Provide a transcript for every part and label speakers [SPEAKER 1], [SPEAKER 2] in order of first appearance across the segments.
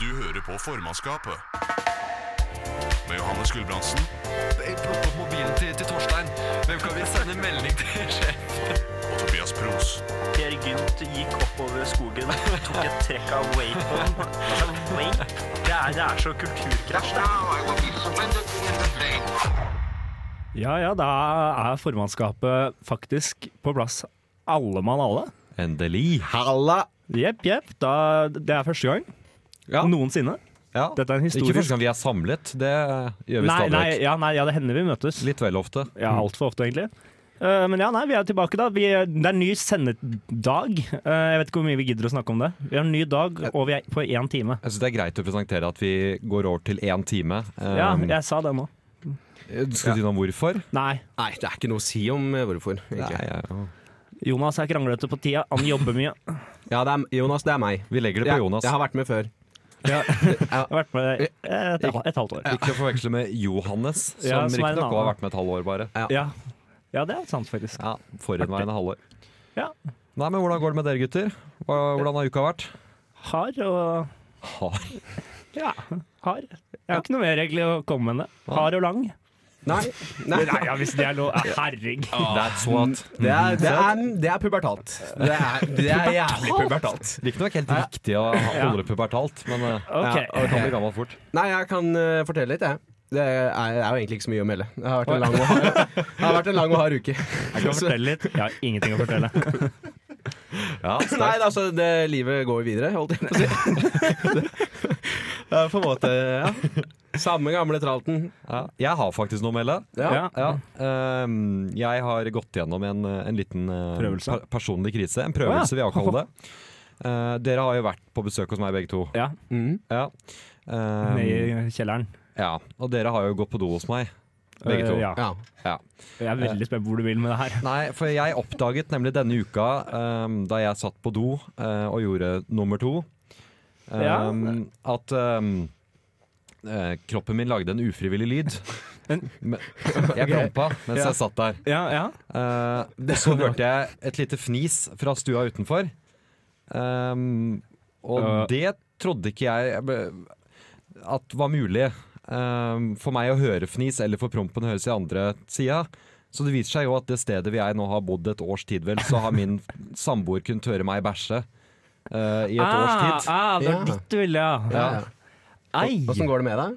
[SPEAKER 1] Du hører på formannskapet. Med Johannes Gulbrandsen.
[SPEAKER 2] Plukk opp mobilen til, til Torstein. Hvem kan vi sende melding til? sjef?
[SPEAKER 1] Og Tobias Pros.
[SPEAKER 3] Per Gynt gikk oppover skogen, tok et trekk av wapen. Altså, wake? Det er, det er så kulturkrasj, det.
[SPEAKER 4] Ja, ja, da er formannskapet faktisk på plass alle mann alle.
[SPEAKER 5] Endelig.
[SPEAKER 4] Jepp, jepp. da- Det er første gang
[SPEAKER 5] Ja.
[SPEAKER 4] noensinne.
[SPEAKER 5] Ja.
[SPEAKER 4] Dette er en
[SPEAKER 5] Ikke første
[SPEAKER 4] historisk
[SPEAKER 5] gang vi er samlet. Det gjør vi
[SPEAKER 4] nei,
[SPEAKER 5] stadig
[SPEAKER 4] nei,
[SPEAKER 5] vekk.
[SPEAKER 4] ja, nei, ja, det hender vi møtes.
[SPEAKER 5] Litt vel ofte.
[SPEAKER 4] Ja, altfor ofte, egentlig. Eh, men ja, nei, vi er tilbake, da. Vi, det er ny sendedag. Eh, jeg vet ikke hvor mye vi gidder å snakke om det. Vi har en ny dag, og vi er på én time.
[SPEAKER 5] Jeg synes det er greit å presentere at vi går over til én time.
[SPEAKER 6] Eh,
[SPEAKER 4] Ja,
[SPEAKER 5] Um,
[SPEAKER 4] jeg sa det nå.
[SPEAKER 5] Skal du si noe om hvorfor?
[SPEAKER 4] Nei.
[SPEAKER 6] Nei, det er ikke noe å si om eh, hvorfor.
[SPEAKER 5] Nei,
[SPEAKER 6] egentlig.
[SPEAKER 5] ja.
[SPEAKER 4] Jonas er kranglete på tida. Han jobber mye.
[SPEAKER 6] Ja, det er, Jonas, det er meg.
[SPEAKER 5] Vi legger det på
[SPEAKER 6] Jeg-
[SPEAKER 5] Jonas.
[SPEAKER 6] Jeg har vært med før.
[SPEAKER 4] Jeg har vært med et, et, et halvt år.
[SPEAKER 5] Ikke å forveksle med Johannes, som,
[SPEAKER 4] Ja, som er en
[SPEAKER 5] riktignok
[SPEAKER 4] annen.
[SPEAKER 5] har vært med et halvår bare.
[SPEAKER 4] Ja. ja, det er sant, faktisk.
[SPEAKER 5] Ja, Forhenværende halvår.
[SPEAKER 4] Ja.
[SPEAKER 5] Nei, men Hvordan går det med dere gutter? Hva- Hvordan har uka vært?
[SPEAKER 4] Hard og
[SPEAKER 5] Har.
[SPEAKER 4] Ja, hard. Jeg har ikke noe mer egentlig å komme med. Hard og lang.
[SPEAKER 6] Nei. Nei.
[SPEAKER 4] Nei, ja, hvis det er lov. Ja, Herregud.
[SPEAKER 5] That's what.
[SPEAKER 6] Det, er, det, er, det er pubertalt. Det er, det er jævlig pubertalt.
[SPEAKER 5] Riktignok helt riktig å holde det pubertalt, men eh,
[SPEAKER 4] Ok.
[SPEAKER 5] ja, det kan bli gammelt fort.
[SPEAKER 6] Nei, jeg kan eh, fortelle litt, jeg. Det er, det er jo egentlig ikke så mye å melde. Det har vært en lang og hard, det har vært en lang og hard uke.
[SPEAKER 4] Jeg kan fortelle litt. Jeg har ingenting å fortelle.
[SPEAKER 5] Ja, sterkt.
[SPEAKER 6] Nei, altså, det, livet går videre, holdt jeg på å si. Det er på en måte ja. Samme gamle tralten.
[SPEAKER 5] ja. Jeg har faktisk noe å melde.
[SPEAKER 6] Ja.
[SPEAKER 4] Ja.
[SPEAKER 5] Ja. ehm, jeg har gått gjennom en, en liten eh,
[SPEAKER 4] Mm. Prøvelse?
[SPEAKER 5] per- personlig krise. En prøvelse,
[SPEAKER 4] Å, ja.
[SPEAKER 5] vil jeg kalle det. Eh, dere har jo vært på besøk hos meg begge to.
[SPEAKER 4] Ja,
[SPEAKER 6] Mm.
[SPEAKER 5] Ja. Ehm,
[SPEAKER 4] nede i kjelleren.
[SPEAKER 5] ja. Og dere har jo gått på do hos meg. Begge
[SPEAKER 4] Eh,
[SPEAKER 5] to.
[SPEAKER 4] Ja.
[SPEAKER 6] Ja.
[SPEAKER 5] Ja.
[SPEAKER 4] Jeg er veldig spent på hvor du vil med det her.
[SPEAKER 5] Nei, for jeg oppdaget nemlig denne uka, ehm, da jeg satt på do eh, og gjorde nummer to, ehm, at ehm, eh, kroppen min lagde en ufrivillig lyd.
[SPEAKER 4] En-
[SPEAKER 5] Men- Jeg prompa mens jeg satt der.
[SPEAKER 4] Ja, ja.
[SPEAKER 5] Eh, og så hørte jeg et lite fnis fra stua utenfor. Ehm, og
[SPEAKER 4] Ja.
[SPEAKER 5] det trodde ikke jeg eh, at var mulig ehm, for meg å høre fnis, eller for prompen å høres i andre sida. Så det viser seg jo at det stedet vi er nå har bodd et års tid, vel, så har min samboer kunnet høre meg bæsje eh, i et års tid.
[SPEAKER 4] Ah, ah, det
[SPEAKER 6] Ja.
[SPEAKER 4] var ditt du ville, ja.
[SPEAKER 5] Ja.
[SPEAKER 4] Ei!
[SPEAKER 6] Åssen går det med deg?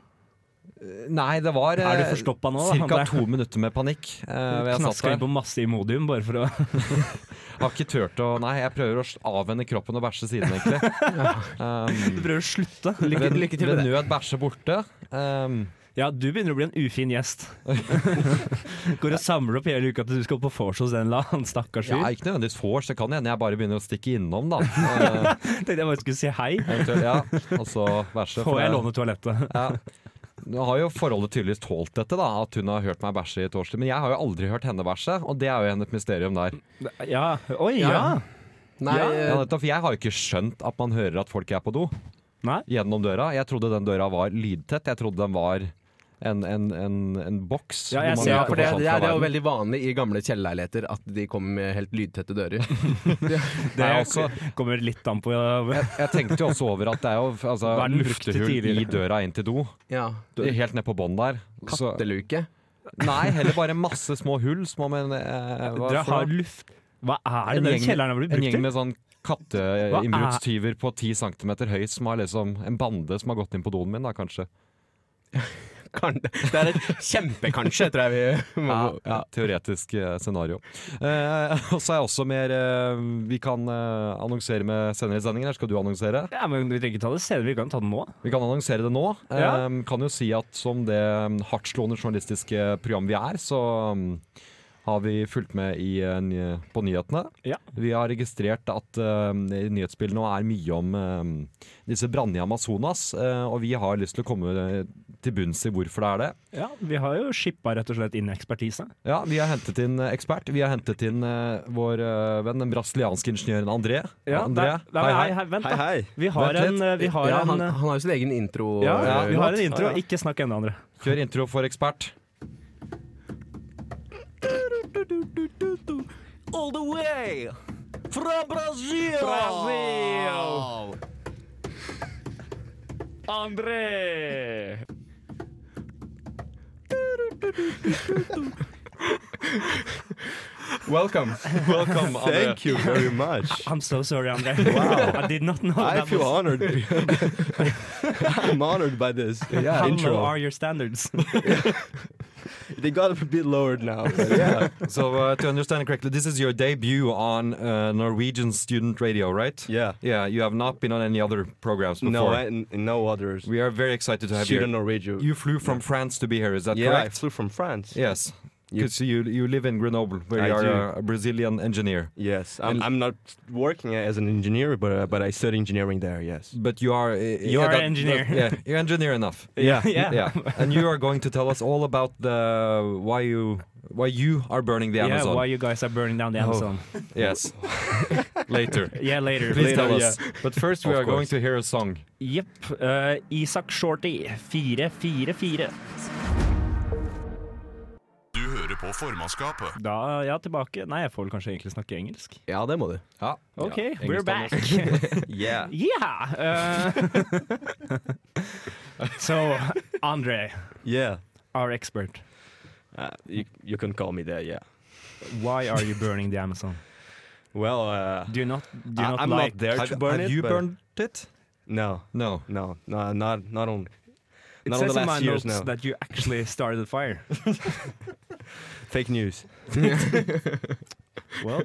[SPEAKER 5] Nei, det var
[SPEAKER 4] Er du forstoppa nå? da,
[SPEAKER 5] ca.
[SPEAKER 4] André?
[SPEAKER 5] Eh, to minutter med panikk. eh, hvor jeg satt
[SPEAKER 4] Knaska
[SPEAKER 5] der.
[SPEAKER 4] inn på masse Imodium bare for å
[SPEAKER 5] Har ikke turt å Nei, jeg prøver å s- avvende kroppen og bæsje siden, egentlig. Um,
[SPEAKER 4] prøve å slutte.
[SPEAKER 5] ved, ved nød bæsje borte. Um,
[SPEAKER 4] Ja, du begynner å bli en ufin gjest. Går og samler opp hele uka til du skal på vors hos en eller annen stakkars
[SPEAKER 5] ja,
[SPEAKER 4] fyr.
[SPEAKER 5] ikke nødvendigvis vors, det kan hende jeg bare begynner å stikke innom, da. Uh,
[SPEAKER 4] Tenkte jeg bare skulle si hei.
[SPEAKER 5] eventuelt, ja. Og så bæsje. for
[SPEAKER 4] Får jeg
[SPEAKER 5] det-
[SPEAKER 4] låne toalettet?
[SPEAKER 5] Ja. Nå har jo forholdet tydeligvis tålt dette, da, at hun har hørt meg bæsje i et års tid. Men jeg har jo aldri hørt henne bæsje, og det er jo hennes mysterium der.
[SPEAKER 4] Ja. Oi, ja.
[SPEAKER 6] Nei,
[SPEAKER 5] Ja,
[SPEAKER 6] eh,
[SPEAKER 5] nettopp, for jeg har jo ikke skjønt at man hører at folk er på do.
[SPEAKER 4] Nei.
[SPEAKER 5] Gjennom døra. Jeg trodde den døra var lydtett. Jeg trodde den var en, en, en, en boks.
[SPEAKER 4] Ja, jeg
[SPEAKER 5] hvor man
[SPEAKER 4] ser-
[SPEAKER 6] ja,
[SPEAKER 5] ikke
[SPEAKER 6] for
[SPEAKER 5] får
[SPEAKER 6] det,
[SPEAKER 5] sånt
[SPEAKER 6] det,
[SPEAKER 5] fra
[SPEAKER 6] er, det er jo
[SPEAKER 5] verden.
[SPEAKER 6] veldig vanlig i gamle kjellerleiligheter at de kommer med helt lydtette dører.
[SPEAKER 4] Det
[SPEAKER 5] Nei, altså,
[SPEAKER 4] kommer litt an på
[SPEAKER 5] jeg, jeg tenkte jo også over at det er jo altså,
[SPEAKER 4] Hva er den brukte
[SPEAKER 5] luftehull i
[SPEAKER 4] tidligere?
[SPEAKER 5] døra inn til do.
[SPEAKER 6] Ja,
[SPEAKER 5] Helt ned på bånn der. Så,
[SPEAKER 6] Katteluke.
[SPEAKER 5] nei, heller bare masse små hull. Små, men eh, hva
[SPEAKER 4] Dere
[SPEAKER 5] for noe?
[SPEAKER 4] har luft... Hva er
[SPEAKER 5] En
[SPEAKER 4] det den
[SPEAKER 5] gjeng-
[SPEAKER 4] kjelleren har blitt
[SPEAKER 5] En
[SPEAKER 4] brukt
[SPEAKER 5] gjeng
[SPEAKER 4] til?
[SPEAKER 5] med sånn
[SPEAKER 4] Hva er-
[SPEAKER 5] katteinnbruddstyver på 10 cm høy som har liksom en bande som har gått inn på doen min, da kanskje.
[SPEAKER 6] Kan- Det er et kjempekanskje, tror jeg vi må
[SPEAKER 5] Ja, ja, teoretisk eh, scenario. Eh, og så er jeg også mer eh, Vi kan eh, annonsere med senere i sendingen. Her skal du annonsere.
[SPEAKER 4] Ja, men Vi trenger ikke ta det senere, vi kan ta det nå.
[SPEAKER 5] Vi kan annonsere det nå. Eh,
[SPEAKER 4] Ja.
[SPEAKER 5] kan jo si at som det mm, hardtslående journalistiske program vi er, så mm, har vi fulgt med i, eh, ny- på nyhetene.
[SPEAKER 4] Ja.
[SPEAKER 5] Vi har registrert at eh, nyhetsbildet nå er mye om eh, disse brannene i Amazonas. eh, og vi har lyst til å komme eh, til bunns i hvorfor det er det.
[SPEAKER 4] Ja, Vi har jo shippa rett og slett inn ekspertise.
[SPEAKER 5] Ja, Vi har hentet inn eh, ekspert. Vi har hentet inn eh, vår eh, venn, den brasilianske ingeniøren André. André,
[SPEAKER 4] nei,
[SPEAKER 5] hei,
[SPEAKER 4] nei, nei,
[SPEAKER 5] hei.
[SPEAKER 4] hei, vent,
[SPEAKER 7] Hei,
[SPEAKER 4] da.
[SPEAKER 7] hei.
[SPEAKER 4] Vi har
[SPEAKER 5] Vent
[SPEAKER 4] en,
[SPEAKER 5] litt.
[SPEAKER 4] eh, vi har
[SPEAKER 6] ja,
[SPEAKER 4] en,
[SPEAKER 6] han,
[SPEAKER 4] eh,
[SPEAKER 6] han har jo sin egen intro.
[SPEAKER 4] ja,
[SPEAKER 6] eh,
[SPEAKER 4] vi har
[SPEAKER 6] låt.
[SPEAKER 4] en intro.
[SPEAKER 7] Ja, ja.
[SPEAKER 4] Ikke snakk ennå, André.
[SPEAKER 5] Kjør intro for ekspert.
[SPEAKER 7] All the way fra Brasil! André!
[SPEAKER 6] Welcome. Welcome, André.
[SPEAKER 8] Thank you very much.
[SPEAKER 4] I'm so sorry, Andre.
[SPEAKER 8] Wow.
[SPEAKER 4] I did not know
[SPEAKER 8] I
[SPEAKER 4] that
[SPEAKER 8] feel
[SPEAKER 4] was
[SPEAKER 8] honored. I'm honored by this. Yeah,
[SPEAKER 4] How
[SPEAKER 8] intro.
[SPEAKER 4] low are your standards?
[SPEAKER 8] They got a bit lowered now. But yeah.
[SPEAKER 5] So, uh, to understand it correctly, this is your debut on uh, Norwegian student radio, right?
[SPEAKER 8] yeah.
[SPEAKER 5] Yeah, you have not been on any other programs before.
[SPEAKER 8] No, I, n- no others.
[SPEAKER 5] we are very excited to have you.
[SPEAKER 8] Student or radio.
[SPEAKER 5] You flew from France to be here, is that
[SPEAKER 8] yeah, I
[SPEAKER 5] correct?
[SPEAKER 8] flew from France.
[SPEAKER 5] Yes.
[SPEAKER 8] You-
[SPEAKER 5] Because you, you live in Grenoble, where
[SPEAKER 8] I
[SPEAKER 5] you are
[SPEAKER 8] do.
[SPEAKER 5] a- a Brazilian engineer.
[SPEAKER 8] Yes, I'm,
[SPEAKER 5] And-
[SPEAKER 8] I'm not working as an engineer, but uh, but I study engineering there. Yes.
[SPEAKER 5] But you are. eh,
[SPEAKER 4] You are an engineer.
[SPEAKER 5] yeah, you're engineer enough.
[SPEAKER 8] Yeah.
[SPEAKER 4] yeah.
[SPEAKER 5] Yeah, and you are going to tell us all about the why you why you are burning the
[SPEAKER 4] Yeah,
[SPEAKER 5] Amazon.
[SPEAKER 4] why you guys are burning down the Amazon.
[SPEAKER 5] yes, later.
[SPEAKER 4] Yeah, later.
[SPEAKER 5] Please tell
[SPEAKER 8] yeah.
[SPEAKER 5] us. But first, we
[SPEAKER 8] Of
[SPEAKER 5] are going
[SPEAKER 8] course.
[SPEAKER 5] to hear a song.
[SPEAKER 4] Jepp. eh, Isak Shorty, 444.
[SPEAKER 1] Du hører på formannskapet.
[SPEAKER 4] Da er jeg tilbake. Nei, jeg får vel kanskje egentlig snakke engelsk.
[SPEAKER 6] Ja, det må du.
[SPEAKER 5] Ja.
[SPEAKER 4] OK,
[SPEAKER 6] engelsk
[SPEAKER 4] we're
[SPEAKER 6] og
[SPEAKER 4] back.
[SPEAKER 8] Yeah.
[SPEAKER 4] yeah! eh. so, Andre,
[SPEAKER 8] Yeah.
[SPEAKER 4] our expert,
[SPEAKER 8] Uh, you you can call me there. Yeah.
[SPEAKER 4] why are you burning the Amazon?
[SPEAKER 8] Well, uh,
[SPEAKER 4] Do you not, do you
[SPEAKER 8] I-
[SPEAKER 4] not
[SPEAKER 8] I'm
[SPEAKER 4] like
[SPEAKER 8] not there
[SPEAKER 5] Have,
[SPEAKER 8] to burn
[SPEAKER 5] have
[SPEAKER 8] it.
[SPEAKER 5] you
[SPEAKER 8] but-
[SPEAKER 5] burned it?
[SPEAKER 8] No,
[SPEAKER 5] No.
[SPEAKER 8] no, no, not not on.
[SPEAKER 4] It
[SPEAKER 8] Not on
[SPEAKER 4] says
[SPEAKER 8] the
[SPEAKER 4] in my
[SPEAKER 8] last years
[SPEAKER 4] notes
[SPEAKER 8] now.
[SPEAKER 4] that you actually started the fire.
[SPEAKER 8] Fake news.
[SPEAKER 4] well,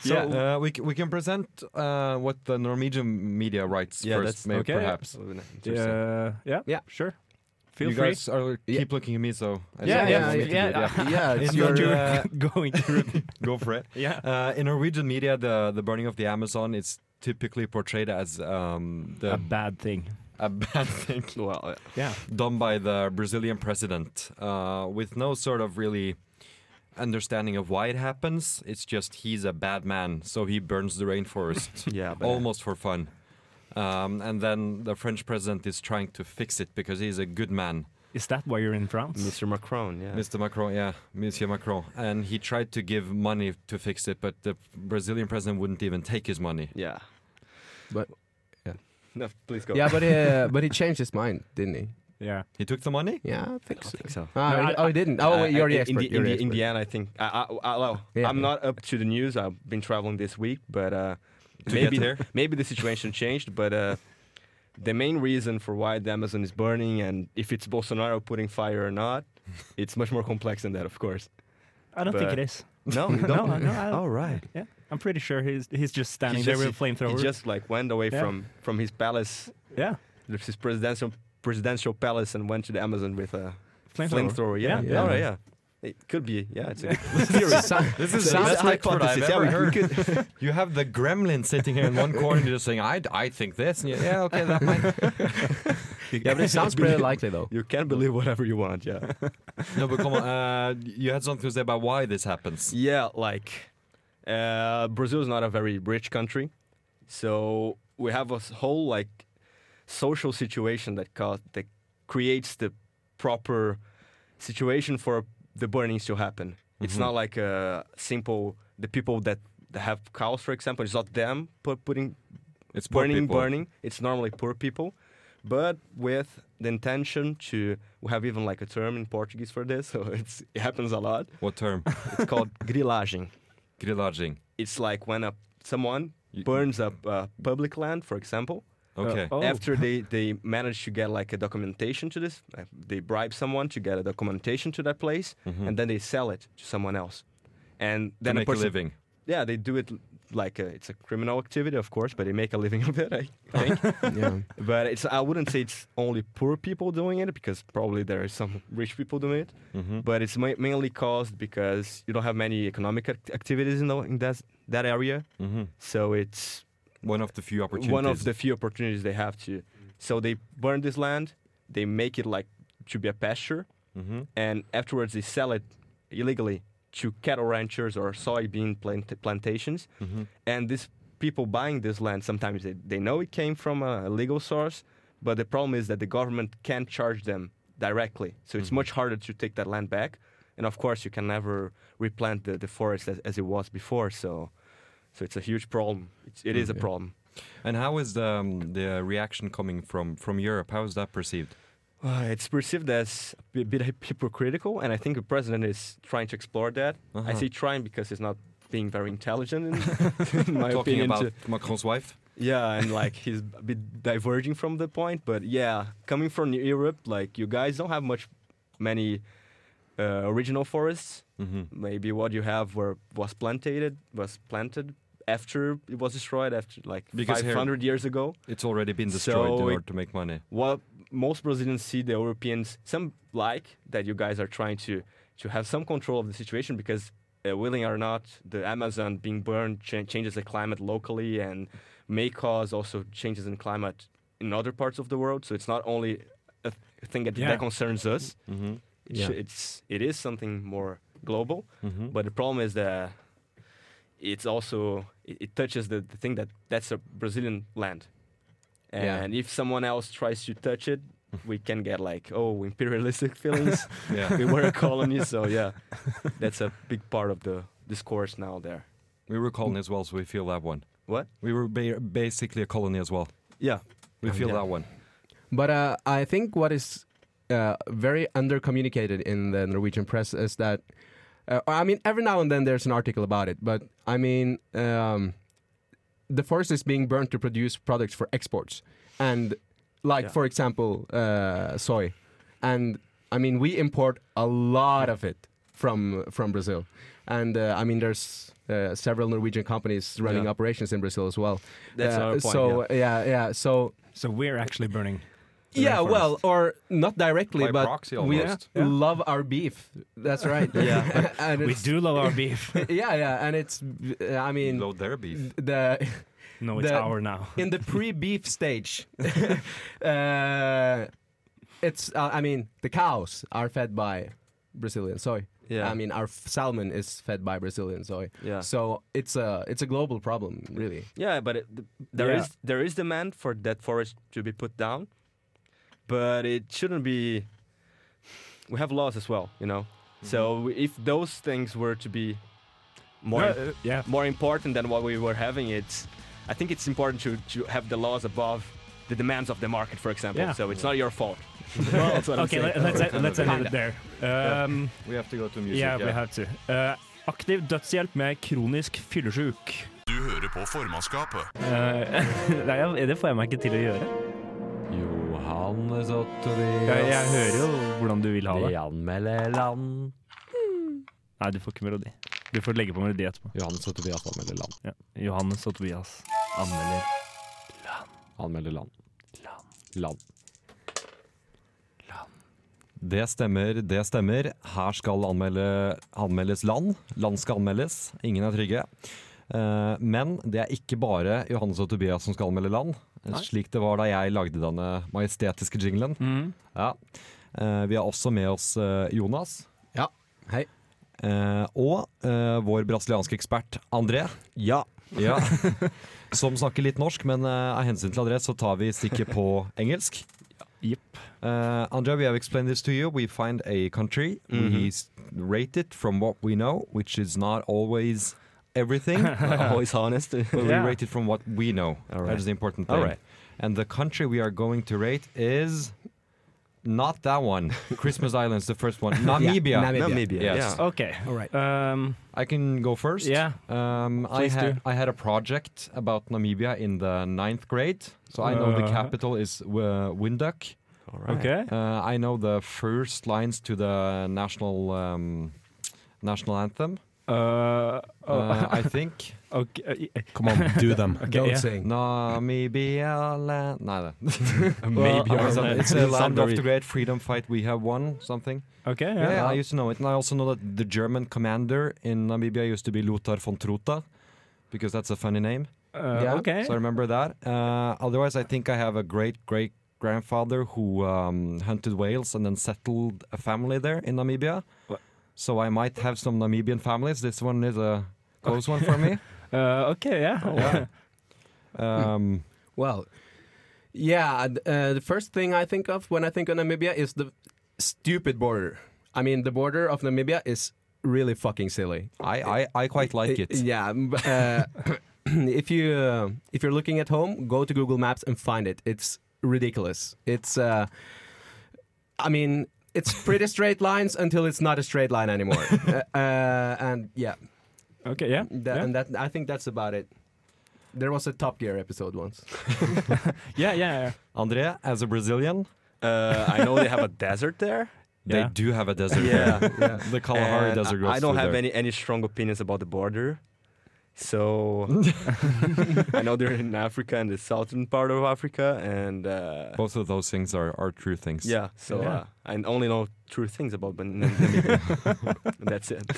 [SPEAKER 5] So
[SPEAKER 8] Yeah.
[SPEAKER 5] uh, we c- we can present uh, what the Norwegian media writes
[SPEAKER 8] Yeah,
[SPEAKER 5] first,
[SPEAKER 8] that's-
[SPEAKER 5] maybe
[SPEAKER 4] okay.
[SPEAKER 5] perhaps.
[SPEAKER 4] uh, yeah,
[SPEAKER 6] Yeah.
[SPEAKER 4] sure. Feel
[SPEAKER 5] you
[SPEAKER 4] free.
[SPEAKER 5] guys are keep looking at me, so I
[SPEAKER 4] Yeah,
[SPEAKER 5] don't
[SPEAKER 4] yeah,
[SPEAKER 5] want me to do
[SPEAKER 4] yeah,
[SPEAKER 5] it,
[SPEAKER 6] Yeah,
[SPEAKER 5] it's
[SPEAKER 4] I'm
[SPEAKER 5] your,
[SPEAKER 4] not
[SPEAKER 5] uh,
[SPEAKER 4] going through.
[SPEAKER 5] go for it.
[SPEAKER 4] yeah.
[SPEAKER 5] Uh, in Norwegian media, the the burning of the Amazon is typically portrayed as um, the
[SPEAKER 4] A bad thing.
[SPEAKER 5] a bad thing
[SPEAKER 8] Well, uh,
[SPEAKER 4] Yeah.
[SPEAKER 5] done by the Brazilian president, uh, with no sort of really understanding of why it happens. It's just he's a bad man, so he burns the rainforest
[SPEAKER 8] yeah, but, uh,
[SPEAKER 5] almost for fun. Um, and then the French president is trying to fix it because he's a good man.
[SPEAKER 4] Is that why you're in France?
[SPEAKER 8] Mr. Macron. Yeah.
[SPEAKER 5] Mr. Macron, yeah, Monsieur Macron. And he tried to give money to fix it, but the Brazilian president wouldn't even take his money.
[SPEAKER 8] Yeah.
[SPEAKER 6] But- yeah.
[SPEAKER 8] No, please go.
[SPEAKER 6] Yeah, but he, but he changed his mind, didn't he?
[SPEAKER 4] Yeah.
[SPEAKER 5] He took the money?
[SPEAKER 6] Yeah, I think so.
[SPEAKER 8] I think so.
[SPEAKER 6] Ah,
[SPEAKER 4] No,
[SPEAKER 6] he-
[SPEAKER 4] I-
[SPEAKER 6] oh, he didn't. Oh,
[SPEAKER 8] Uh,
[SPEAKER 6] wait, you're
[SPEAKER 8] I-
[SPEAKER 6] the
[SPEAKER 8] in
[SPEAKER 6] expert.
[SPEAKER 8] the-
[SPEAKER 6] you're
[SPEAKER 8] in
[SPEAKER 6] the
[SPEAKER 8] the-
[SPEAKER 6] expert.
[SPEAKER 8] in the end, I think I, I, I, well,
[SPEAKER 6] Yeah.
[SPEAKER 8] I'm not up to the news. I've been traveling this week, but uh,
[SPEAKER 5] To
[SPEAKER 8] maybe
[SPEAKER 5] get here?
[SPEAKER 8] maybe the situation changed. But uh, the main reason for why the Amazon is burning and if it's Bolsonaro putting fire or not, it's much more complex than that, of course.
[SPEAKER 4] I don't think
[SPEAKER 8] But-
[SPEAKER 4] it is.
[SPEAKER 8] No, you
[SPEAKER 4] No,
[SPEAKER 8] don't.
[SPEAKER 4] no, I,
[SPEAKER 8] All right.
[SPEAKER 4] yeah. I'm pretty sure he's he's just standing
[SPEAKER 8] He
[SPEAKER 4] there
[SPEAKER 8] just-
[SPEAKER 4] with a flamethrower.
[SPEAKER 8] He just like went away
[SPEAKER 4] Yeah.
[SPEAKER 8] from from his palace,
[SPEAKER 4] yeah,
[SPEAKER 8] his presidential presidential palace, and went to the Amazon with a
[SPEAKER 4] flamethrower.
[SPEAKER 8] flamethrower. Yeah.
[SPEAKER 6] Yeah.
[SPEAKER 8] All right. Yeah. It could be. Yeah. It's a good theory.
[SPEAKER 5] This is
[SPEAKER 8] It's
[SPEAKER 5] the
[SPEAKER 8] a
[SPEAKER 5] best expert I've
[SPEAKER 8] hypothesis. Yeah,
[SPEAKER 5] ever
[SPEAKER 8] we- we
[SPEAKER 5] heard.
[SPEAKER 8] could-
[SPEAKER 5] You have the gremlin sitting here in one corner just saying, I, I think this. And you- yeah, okay, that might.
[SPEAKER 6] yeah, but it sounds pretty likely though.
[SPEAKER 8] You can believe whatever you want, yeah.
[SPEAKER 5] No, but come on. Uh, you had something to say about why this happens.
[SPEAKER 8] yeah, like uh, Brazil is not a very rich country, so we have a s- whole like social situation that cause that creates the proper situation for the burnings to happen. It's not like a simple the people that, that have cows, for example. It's not them put, putting
[SPEAKER 5] It's poor
[SPEAKER 8] burning,
[SPEAKER 5] people.
[SPEAKER 8] burning. It's normally poor people, but with the intention to we have even like a term in Portuguese for this, so it's, it happens a lot.
[SPEAKER 5] What term?
[SPEAKER 8] It's called grilagem.
[SPEAKER 5] Grilaging.
[SPEAKER 8] It's like when a someone
[SPEAKER 5] You-
[SPEAKER 8] burns up uh, public land, for example.
[SPEAKER 5] Okay.
[SPEAKER 4] Oh.
[SPEAKER 8] After they they manage to get like a documentation to this, like, they bribe someone to get a documentation to that place, and then they sell it to someone else. And
[SPEAKER 5] Hmm. to
[SPEAKER 8] then
[SPEAKER 5] Mm-hmm. make
[SPEAKER 8] a person,
[SPEAKER 5] a living.
[SPEAKER 8] yeah, they do it l- like a, it's a criminal activity, of course, but they make a living of it. I think.
[SPEAKER 6] Yeah.
[SPEAKER 8] But it's I wouldn't say it's only poor people doing it because probably there are some rich people doing it. But it's ma- mainly caused because you don't have many economic act- activities in, the, in that that area. So it's
[SPEAKER 5] Mm-hmm. One of the few opportunities.
[SPEAKER 8] one of the few opportunities they have to. So they burn this land, they make it like to be a pasture, and afterwards they sell it illegally to cattle ranchers or soybean plant- plantations. And these people buying this land, sometimes they, they know it came from a legal source, but the problem is that the government can't charge them directly. So it's much harder to take that land back. And of course, you can never replant the, the forest as, as it was before. So, so it's a huge problem. It's, it is a problem.
[SPEAKER 5] And how is the um, the reaction coming from from Europe? How is that perceived?
[SPEAKER 8] Uh, it's perceived as a bi- bit hypocritical, and I think the president is trying to explore that. I
[SPEAKER 5] Uh-huh.
[SPEAKER 8] say trying because he's not being very intelligent, in, in my
[SPEAKER 5] Talking
[SPEAKER 8] opinion. to-
[SPEAKER 5] about Macron's wife.
[SPEAKER 8] yeah, and like he's a bit diverging from the point, but yeah, coming from Europe, like you guys don't have much, many uh, original forests.
[SPEAKER 5] hmm
[SPEAKER 8] Maybe what you have were was planted was planted after it was destroyed after like
[SPEAKER 5] Because here-
[SPEAKER 8] 500 years ago.
[SPEAKER 5] It's already been destroyed in
[SPEAKER 8] So it-
[SPEAKER 5] order to make money.
[SPEAKER 8] What most Brazilians see the Europeans some like that you guys are trying to to have some control of the situation because uh, willing or not, the Amazon being burned cha- changes the climate locally and may cause also changes in climate in other parts of the world. So it's not only a th- thing that,
[SPEAKER 4] Yeah.
[SPEAKER 8] that concerns us.
[SPEAKER 5] hmm
[SPEAKER 8] It
[SPEAKER 6] Yeah.
[SPEAKER 8] sh- It's it is something more global.
[SPEAKER 5] hmm
[SPEAKER 8] But the problem is that it's also it, it touches the, the thing that that's a Brazilian land,
[SPEAKER 6] Yeah.
[SPEAKER 8] and if someone else tries to touch it, we can get like oh imperialistic feelings.
[SPEAKER 5] yeah,
[SPEAKER 8] we were a colony, so yeah, that's a big part of the discourse now there.
[SPEAKER 5] we were a colony as well, so we feel that one.
[SPEAKER 8] What?
[SPEAKER 5] We were ba- basically a colony as well.
[SPEAKER 8] Yeah,
[SPEAKER 5] We feel
[SPEAKER 8] Oh, Yeah.
[SPEAKER 5] that one.
[SPEAKER 6] But uh, I think what is uh, very undercommunicated in the Norwegian press is that, uh, I mean, every now and then there's an article about it, but I mean, um, the forest is being burnt to produce products for exports. And, like,
[SPEAKER 8] Yeah.
[SPEAKER 6] for example, uh, soy. And, I mean, we import a lot of it from from Brazil. And, uh, I mean, there's uh, several Norwegian companies running
[SPEAKER 8] Yeah.
[SPEAKER 6] operations in Brazil as well.
[SPEAKER 8] that's
[SPEAKER 6] Uh,
[SPEAKER 8] another point.
[SPEAKER 6] So,
[SPEAKER 8] yeah.
[SPEAKER 6] yeah, yeah so
[SPEAKER 4] So we're actually burning. the
[SPEAKER 6] yeah,
[SPEAKER 4] rainforest.
[SPEAKER 6] well, or not directly,
[SPEAKER 5] By
[SPEAKER 6] but
[SPEAKER 5] proxy
[SPEAKER 6] we
[SPEAKER 5] almost.
[SPEAKER 4] Yeah.
[SPEAKER 6] love our beef. That's right.
[SPEAKER 8] Yeah.
[SPEAKER 6] and
[SPEAKER 4] We
[SPEAKER 6] it's,
[SPEAKER 4] do love our beef.
[SPEAKER 6] Yeah, yeah, and it's. uh, I mean,
[SPEAKER 5] Load their beef.
[SPEAKER 6] the
[SPEAKER 4] No, it's
[SPEAKER 6] The-
[SPEAKER 4] our now.
[SPEAKER 6] in the pre-beef stage, uh, it's. Uh, I mean, the cows are fed by Brazilian soy.
[SPEAKER 8] yeah,
[SPEAKER 6] I mean, our f- salmon is fed by Brazilian soy.
[SPEAKER 8] yeah.
[SPEAKER 6] So it's a it's a global problem, really.
[SPEAKER 8] Yeah, but it, th- there
[SPEAKER 4] Yeah.
[SPEAKER 8] is there is demand for that forest to be put down, but it shouldn't be. We have laws as well, you know.
[SPEAKER 4] Mm-hmm.
[SPEAKER 8] So we- if those things were to be more
[SPEAKER 4] Yeah, uh, yeah.
[SPEAKER 8] more important than what we were having, it's I think it's important to to have the laws above the demands of the market, for example.
[SPEAKER 4] Yeah.
[SPEAKER 8] So it's not your fault.
[SPEAKER 4] Well,
[SPEAKER 8] That's what I'm
[SPEAKER 4] okay,
[SPEAKER 8] saying.
[SPEAKER 4] let, us
[SPEAKER 5] Kind
[SPEAKER 4] let's
[SPEAKER 5] of,
[SPEAKER 4] end it there. Um,
[SPEAKER 5] We have to go to music.
[SPEAKER 4] yeah, we have to. Uh, aktiv dødshjelp med kronisk fyllesjuk.
[SPEAKER 1] Du hører på formannskapet.
[SPEAKER 4] Eh, nei, jeg- det får jeg meg ikke til å gjøre.
[SPEAKER 5] Johannes og
[SPEAKER 4] Jeg, jeg
[SPEAKER 5] Tobias.
[SPEAKER 4] hører jo hvordan du vil ha
[SPEAKER 5] Vi
[SPEAKER 4] det.
[SPEAKER 5] anmelder land.
[SPEAKER 4] Nei, du får ikke melodi. Du får legge på melodi etterpå.
[SPEAKER 5] Johannes og Tobias anmelder land.
[SPEAKER 4] Ja. Johannes og Tobias anmelder
[SPEAKER 5] Anmelder land. Land. Det stemmer, det stemmer. Her skal anmelde, anmeldes land. Land skal anmeldes. Ingen er trygge. Eh, men det er ikke bare Johannes og Tobias som skal anmelde land, slik det var da jeg lagde denne majestetiske jinglen.
[SPEAKER 4] Mm.
[SPEAKER 5] Ja. Eh, vi har også med oss eh, Jonas.
[SPEAKER 6] Ja. Hei.
[SPEAKER 5] Eh, og eh, vår brasilianske ekspert André.
[SPEAKER 6] Ja.
[SPEAKER 5] Ja. Som snakker litt norsk, men eh, av hensyn til adress så tar vi stikket på engelsk.
[SPEAKER 4] Jepp.
[SPEAKER 5] Uh, Andrea, we have explained this to you. We find a country, we s- rate it from what we know, which is not always everything, but
[SPEAKER 8] Always honest.
[SPEAKER 4] Yeah.
[SPEAKER 5] we rate it from what we know. That is the important thing.
[SPEAKER 8] All right.
[SPEAKER 5] And the country we are going to rate is not that one. Christmas Islands, the first one. Namibia.
[SPEAKER 6] Namibia.
[SPEAKER 8] Namibia.
[SPEAKER 5] Yes.
[SPEAKER 8] Yeah.
[SPEAKER 4] OK.
[SPEAKER 6] All right.
[SPEAKER 4] Um,
[SPEAKER 5] I can go first.
[SPEAKER 4] Yeah.
[SPEAKER 5] Um, I,
[SPEAKER 4] Please
[SPEAKER 5] had,
[SPEAKER 4] do.
[SPEAKER 5] I had a project about Namibia in the ninth grade, so I know the
[SPEAKER 4] Uh-huh.
[SPEAKER 5] capital is uh, Windhoek.
[SPEAKER 8] All right.
[SPEAKER 4] OK.
[SPEAKER 5] Uh, I know the first lines to the national um, national anthem.
[SPEAKER 4] Uh,
[SPEAKER 5] Uh, I think
[SPEAKER 4] OK. uh,
[SPEAKER 7] Come on, do them.
[SPEAKER 4] okay,
[SPEAKER 6] Don't
[SPEAKER 4] yeah.
[SPEAKER 6] sing.
[SPEAKER 5] Namibia land. Nei, det.
[SPEAKER 4] Maybe
[SPEAKER 5] It's
[SPEAKER 4] or
[SPEAKER 5] a-
[SPEAKER 4] not.
[SPEAKER 5] it's a land of the great freedom fight. We have won something.
[SPEAKER 4] OK.
[SPEAKER 5] Yeah,
[SPEAKER 4] Yeah.
[SPEAKER 5] I used to know it, and I also know that the German commander in Namibia used to be Lothar von Trota, because that's a funny name.
[SPEAKER 4] Uh,
[SPEAKER 6] Yeah.
[SPEAKER 4] OK.
[SPEAKER 5] So I remember that. Uh, otherwise, I think I have a great great grandfather who um, hunted whales and then settled a family there in Namibia.
[SPEAKER 4] What?
[SPEAKER 5] So I might have some Namibian families. This one is a close one for me.
[SPEAKER 4] Uh, OK, yeah.
[SPEAKER 5] Oh, Um,
[SPEAKER 6] Well, yeah, th- uh, the first thing I think of when I think of Namibia is the stupid border. I mean, the border of Namibia is really fucking silly.
[SPEAKER 5] I, I, I quite like
[SPEAKER 6] Uh,
[SPEAKER 5] it.
[SPEAKER 6] Yeah. m- Uh, if you uh, if you're looking at home, go to Google Maps and find it. It's ridiculous. It's uh, I mean, it's pretty straight lines until it's not a straight line anymore. uh, uh, and yeah,
[SPEAKER 4] Okay, yeah.
[SPEAKER 6] that,
[SPEAKER 4] yeah.
[SPEAKER 6] and that I think that's about it. There was a Top Gear episode once.
[SPEAKER 4] yeah, yeah, yeah.
[SPEAKER 5] Andrea, as a Brazilian,
[SPEAKER 8] Uh, I know they have a desert there.
[SPEAKER 5] they
[SPEAKER 4] Yeah.
[SPEAKER 5] do have a desert.
[SPEAKER 8] Yeah.
[SPEAKER 5] there. the Kalahari
[SPEAKER 8] and
[SPEAKER 5] Desert
[SPEAKER 8] I-
[SPEAKER 5] goes
[SPEAKER 8] I don't
[SPEAKER 5] through
[SPEAKER 8] have
[SPEAKER 5] there.
[SPEAKER 8] any any strong opinions about the border. So I know they're in Africa and the southern part of Africa, and uh,
[SPEAKER 5] Both of those things are, are true things.
[SPEAKER 8] yeah. So
[SPEAKER 4] Yeah.
[SPEAKER 8] Uh, I only know true things about Ban- Nam- Namibia. That's it.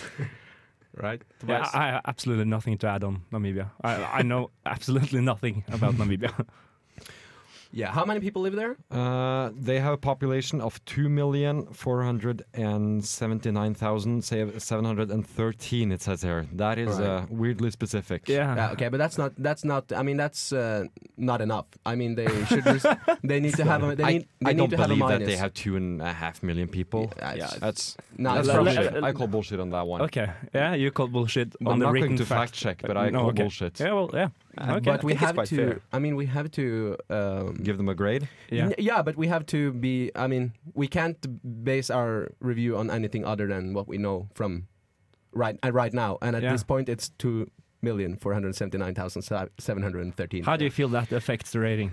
[SPEAKER 6] Right?
[SPEAKER 4] yeah I I have absolutely nothing to add on Namibia. I, I know absolutely nothing about Namibia.
[SPEAKER 6] Yeah. How many people live there?
[SPEAKER 5] Uh, they have a population of 2,479,713, it says here. That is
[SPEAKER 6] Right.
[SPEAKER 5] uh, weirdly specific.
[SPEAKER 4] yeah.
[SPEAKER 6] Yeah, okay, but that's not that's not. I mean, that's uh, not enough. I mean, they should. Res- they need to have a. They
[SPEAKER 5] I,
[SPEAKER 6] need, they
[SPEAKER 5] I
[SPEAKER 6] need
[SPEAKER 5] don't
[SPEAKER 6] to have a
[SPEAKER 5] believe that
[SPEAKER 6] minus.
[SPEAKER 5] they have two and a half million people.
[SPEAKER 6] Yeah, it's-
[SPEAKER 5] That's,
[SPEAKER 6] No,
[SPEAKER 5] that's
[SPEAKER 6] let-
[SPEAKER 5] bullshit.
[SPEAKER 4] let-
[SPEAKER 5] I call bullshit on that one.
[SPEAKER 4] Okay. Yeah, you called bullshit
[SPEAKER 5] But
[SPEAKER 4] on
[SPEAKER 5] I'm
[SPEAKER 4] the
[SPEAKER 5] not
[SPEAKER 4] written
[SPEAKER 5] going to fact check, but I
[SPEAKER 4] No,
[SPEAKER 5] call
[SPEAKER 4] okay.
[SPEAKER 5] bullshit.
[SPEAKER 4] Yeah, well, yeah. Okay.
[SPEAKER 6] But we
[SPEAKER 8] think it's
[SPEAKER 6] have
[SPEAKER 8] quite
[SPEAKER 6] to.
[SPEAKER 8] fair.
[SPEAKER 6] I mean, we have to. Um,
[SPEAKER 5] Give them a grade.
[SPEAKER 4] yeah.
[SPEAKER 6] n- yeah, but we have to be. I mean, we can't base our review on anything other than what we know from right uh, right now. And at
[SPEAKER 4] Yeah.
[SPEAKER 6] this point, it's two million four hundred seventy nine thousand seven hundred thirteen.
[SPEAKER 4] How do you feel that affects the rating?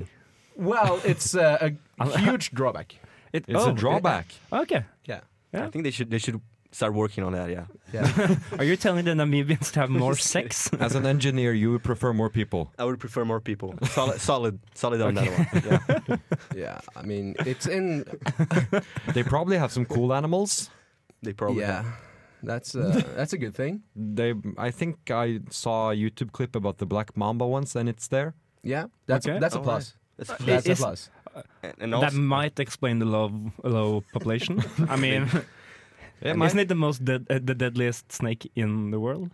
[SPEAKER 6] Well, it's uh, a
[SPEAKER 4] I'll-
[SPEAKER 6] huge drawback.
[SPEAKER 4] It,
[SPEAKER 5] It's
[SPEAKER 4] oh,
[SPEAKER 5] a drawback.
[SPEAKER 4] Okay.
[SPEAKER 6] Yeah.
[SPEAKER 8] I think they should they should start working on that. Yeah.
[SPEAKER 6] Yeah.
[SPEAKER 4] Are you telling the Namibians to have more sex?
[SPEAKER 5] As an engineer, you would prefer more people.
[SPEAKER 8] I would prefer more people. Solid, solid, solid on that one. Yeah.
[SPEAKER 6] yeah. I mean, it's in
[SPEAKER 5] They probably have some cool animals.
[SPEAKER 8] They probably.
[SPEAKER 6] yeah, that's uh, that's a good thing.
[SPEAKER 5] They, I think I saw a YouTube clip about the black mamba once, and it's there.
[SPEAKER 6] Yeah, that's
[SPEAKER 4] Okay.
[SPEAKER 6] that's a
[SPEAKER 8] All
[SPEAKER 6] plus.
[SPEAKER 8] That's,
[SPEAKER 6] That's a
[SPEAKER 4] Is-
[SPEAKER 6] plus.
[SPEAKER 8] and, and
[SPEAKER 4] that
[SPEAKER 8] also,
[SPEAKER 4] might explain the low, low population. I mean, isn't it the most dead, uh, the deadliest snake in the world?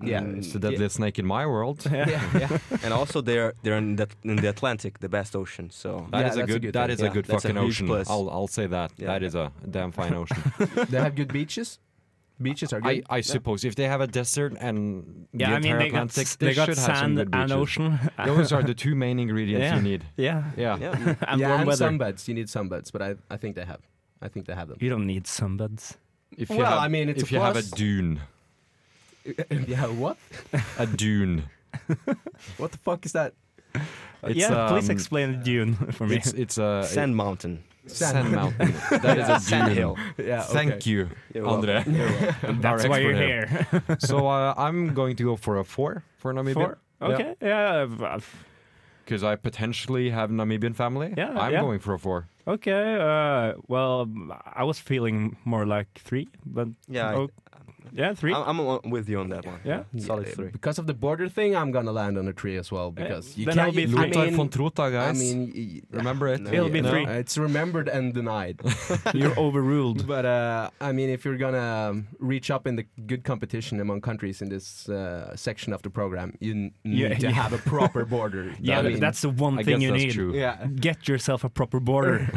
[SPEAKER 6] Yeah.
[SPEAKER 8] Mm,
[SPEAKER 5] It's the deadliest snake in my world. That is
[SPEAKER 6] Yeah, yeah.
[SPEAKER 8] and also they're they're in the, in the Atlantic, the best ocean. So
[SPEAKER 6] Yeah,
[SPEAKER 5] a
[SPEAKER 6] that's a
[SPEAKER 5] good.
[SPEAKER 6] good
[SPEAKER 5] that
[SPEAKER 6] thing.
[SPEAKER 5] is
[SPEAKER 8] Yeah,
[SPEAKER 5] a good
[SPEAKER 8] that's a
[SPEAKER 5] fucking
[SPEAKER 8] huge
[SPEAKER 5] ocean.
[SPEAKER 8] plus.
[SPEAKER 5] I'll I'll say that.
[SPEAKER 8] Yeah.
[SPEAKER 5] That is a damn fine ocean.
[SPEAKER 6] they have good beaches. Beaches are
[SPEAKER 5] I,
[SPEAKER 6] good.
[SPEAKER 5] I suppose if they have a desert and the
[SPEAKER 4] Yeah, I mean,
[SPEAKER 5] entire
[SPEAKER 4] they got,
[SPEAKER 5] Atlantic,
[SPEAKER 4] s-
[SPEAKER 5] they,
[SPEAKER 4] they got
[SPEAKER 5] should have some
[SPEAKER 4] sand
[SPEAKER 5] good
[SPEAKER 4] and
[SPEAKER 5] beaches.
[SPEAKER 4] ocean.
[SPEAKER 5] Those are the two main ingredients
[SPEAKER 4] Yeah.
[SPEAKER 5] you need.
[SPEAKER 4] yeah.
[SPEAKER 5] Yeah.
[SPEAKER 8] yeah,
[SPEAKER 4] And
[SPEAKER 6] yeah,
[SPEAKER 4] warm
[SPEAKER 6] and
[SPEAKER 4] weather.
[SPEAKER 6] sunbeds. You need sunbeds, but I, I think they have. I think they have them.
[SPEAKER 4] You don't need sunbeds.
[SPEAKER 5] If
[SPEAKER 6] Well, I mean, it's
[SPEAKER 5] if
[SPEAKER 6] a
[SPEAKER 5] you have a
[SPEAKER 6] plus.
[SPEAKER 5] dune,
[SPEAKER 6] yeah, what?
[SPEAKER 5] a dune.
[SPEAKER 6] What the fuck is that?
[SPEAKER 5] It's,
[SPEAKER 4] Oh, yeah, please
[SPEAKER 5] um,
[SPEAKER 4] explain Dune for me.
[SPEAKER 5] It's it's a
[SPEAKER 8] sand mountain.
[SPEAKER 5] sand, mountain. that is a dune.
[SPEAKER 8] Sand hill. Ah,
[SPEAKER 6] Yeah,
[SPEAKER 5] Thank you,
[SPEAKER 8] You're welcome.
[SPEAKER 5] Andre.
[SPEAKER 4] That's why you're here.
[SPEAKER 5] so uh, I'm going to go for a four for Namibia.
[SPEAKER 4] Four? Okay. Yeah. uh, I've- I've-
[SPEAKER 5] Because I potentially have Namibian family.
[SPEAKER 4] Yeah,
[SPEAKER 5] I'm
[SPEAKER 4] yeah.
[SPEAKER 5] going for a four.
[SPEAKER 4] Okay. Uh, well, um, I was feeling more like three, but
[SPEAKER 8] Yeah, I-
[SPEAKER 4] oh, yeah, three.
[SPEAKER 8] I'm, I'm on- with you on that one.
[SPEAKER 4] Yeah.
[SPEAKER 8] solid three.
[SPEAKER 6] Because of the border thing, I'm gonna land on a tree as well. Because you
[SPEAKER 4] Eh, then
[SPEAKER 6] can't.
[SPEAKER 4] I'll be
[SPEAKER 6] you-
[SPEAKER 4] three.
[SPEAKER 5] Lothar
[SPEAKER 6] I mean,
[SPEAKER 5] von Trotha,
[SPEAKER 6] I
[SPEAKER 5] guys.
[SPEAKER 6] mean, y-
[SPEAKER 5] Remember it?
[SPEAKER 8] No,
[SPEAKER 4] It'll be
[SPEAKER 5] No.
[SPEAKER 4] three.
[SPEAKER 6] it's remembered and denied.
[SPEAKER 4] You're overruled.
[SPEAKER 6] but uh, I mean, if you're gonna um, reach up in the good competition among countries in this uh, section of the program, you n- need
[SPEAKER 4] Yeah,
[SPEAKER 6] to
[SPEAKER 4] yeah.
[SPEAKER 6] have a proper border.
[SPEAKER 4] Yeah,
[SPEAKER 6] I
[SPEAKER 4] th-
[SPEAKER 6] mean,
[SPEAKER 4] that's the one
[SPEAKER 5] I
[SPEAKER 4] thing
[SPEAKER 5] guess
[SPEAKER 4] you
[SPEAKER 5] that's
[SPEAKER 4] need.
[SPEAKER 5] true.
[SPEAKER 6] yeah.
[SPEAKER 4] Get yourself a proper border.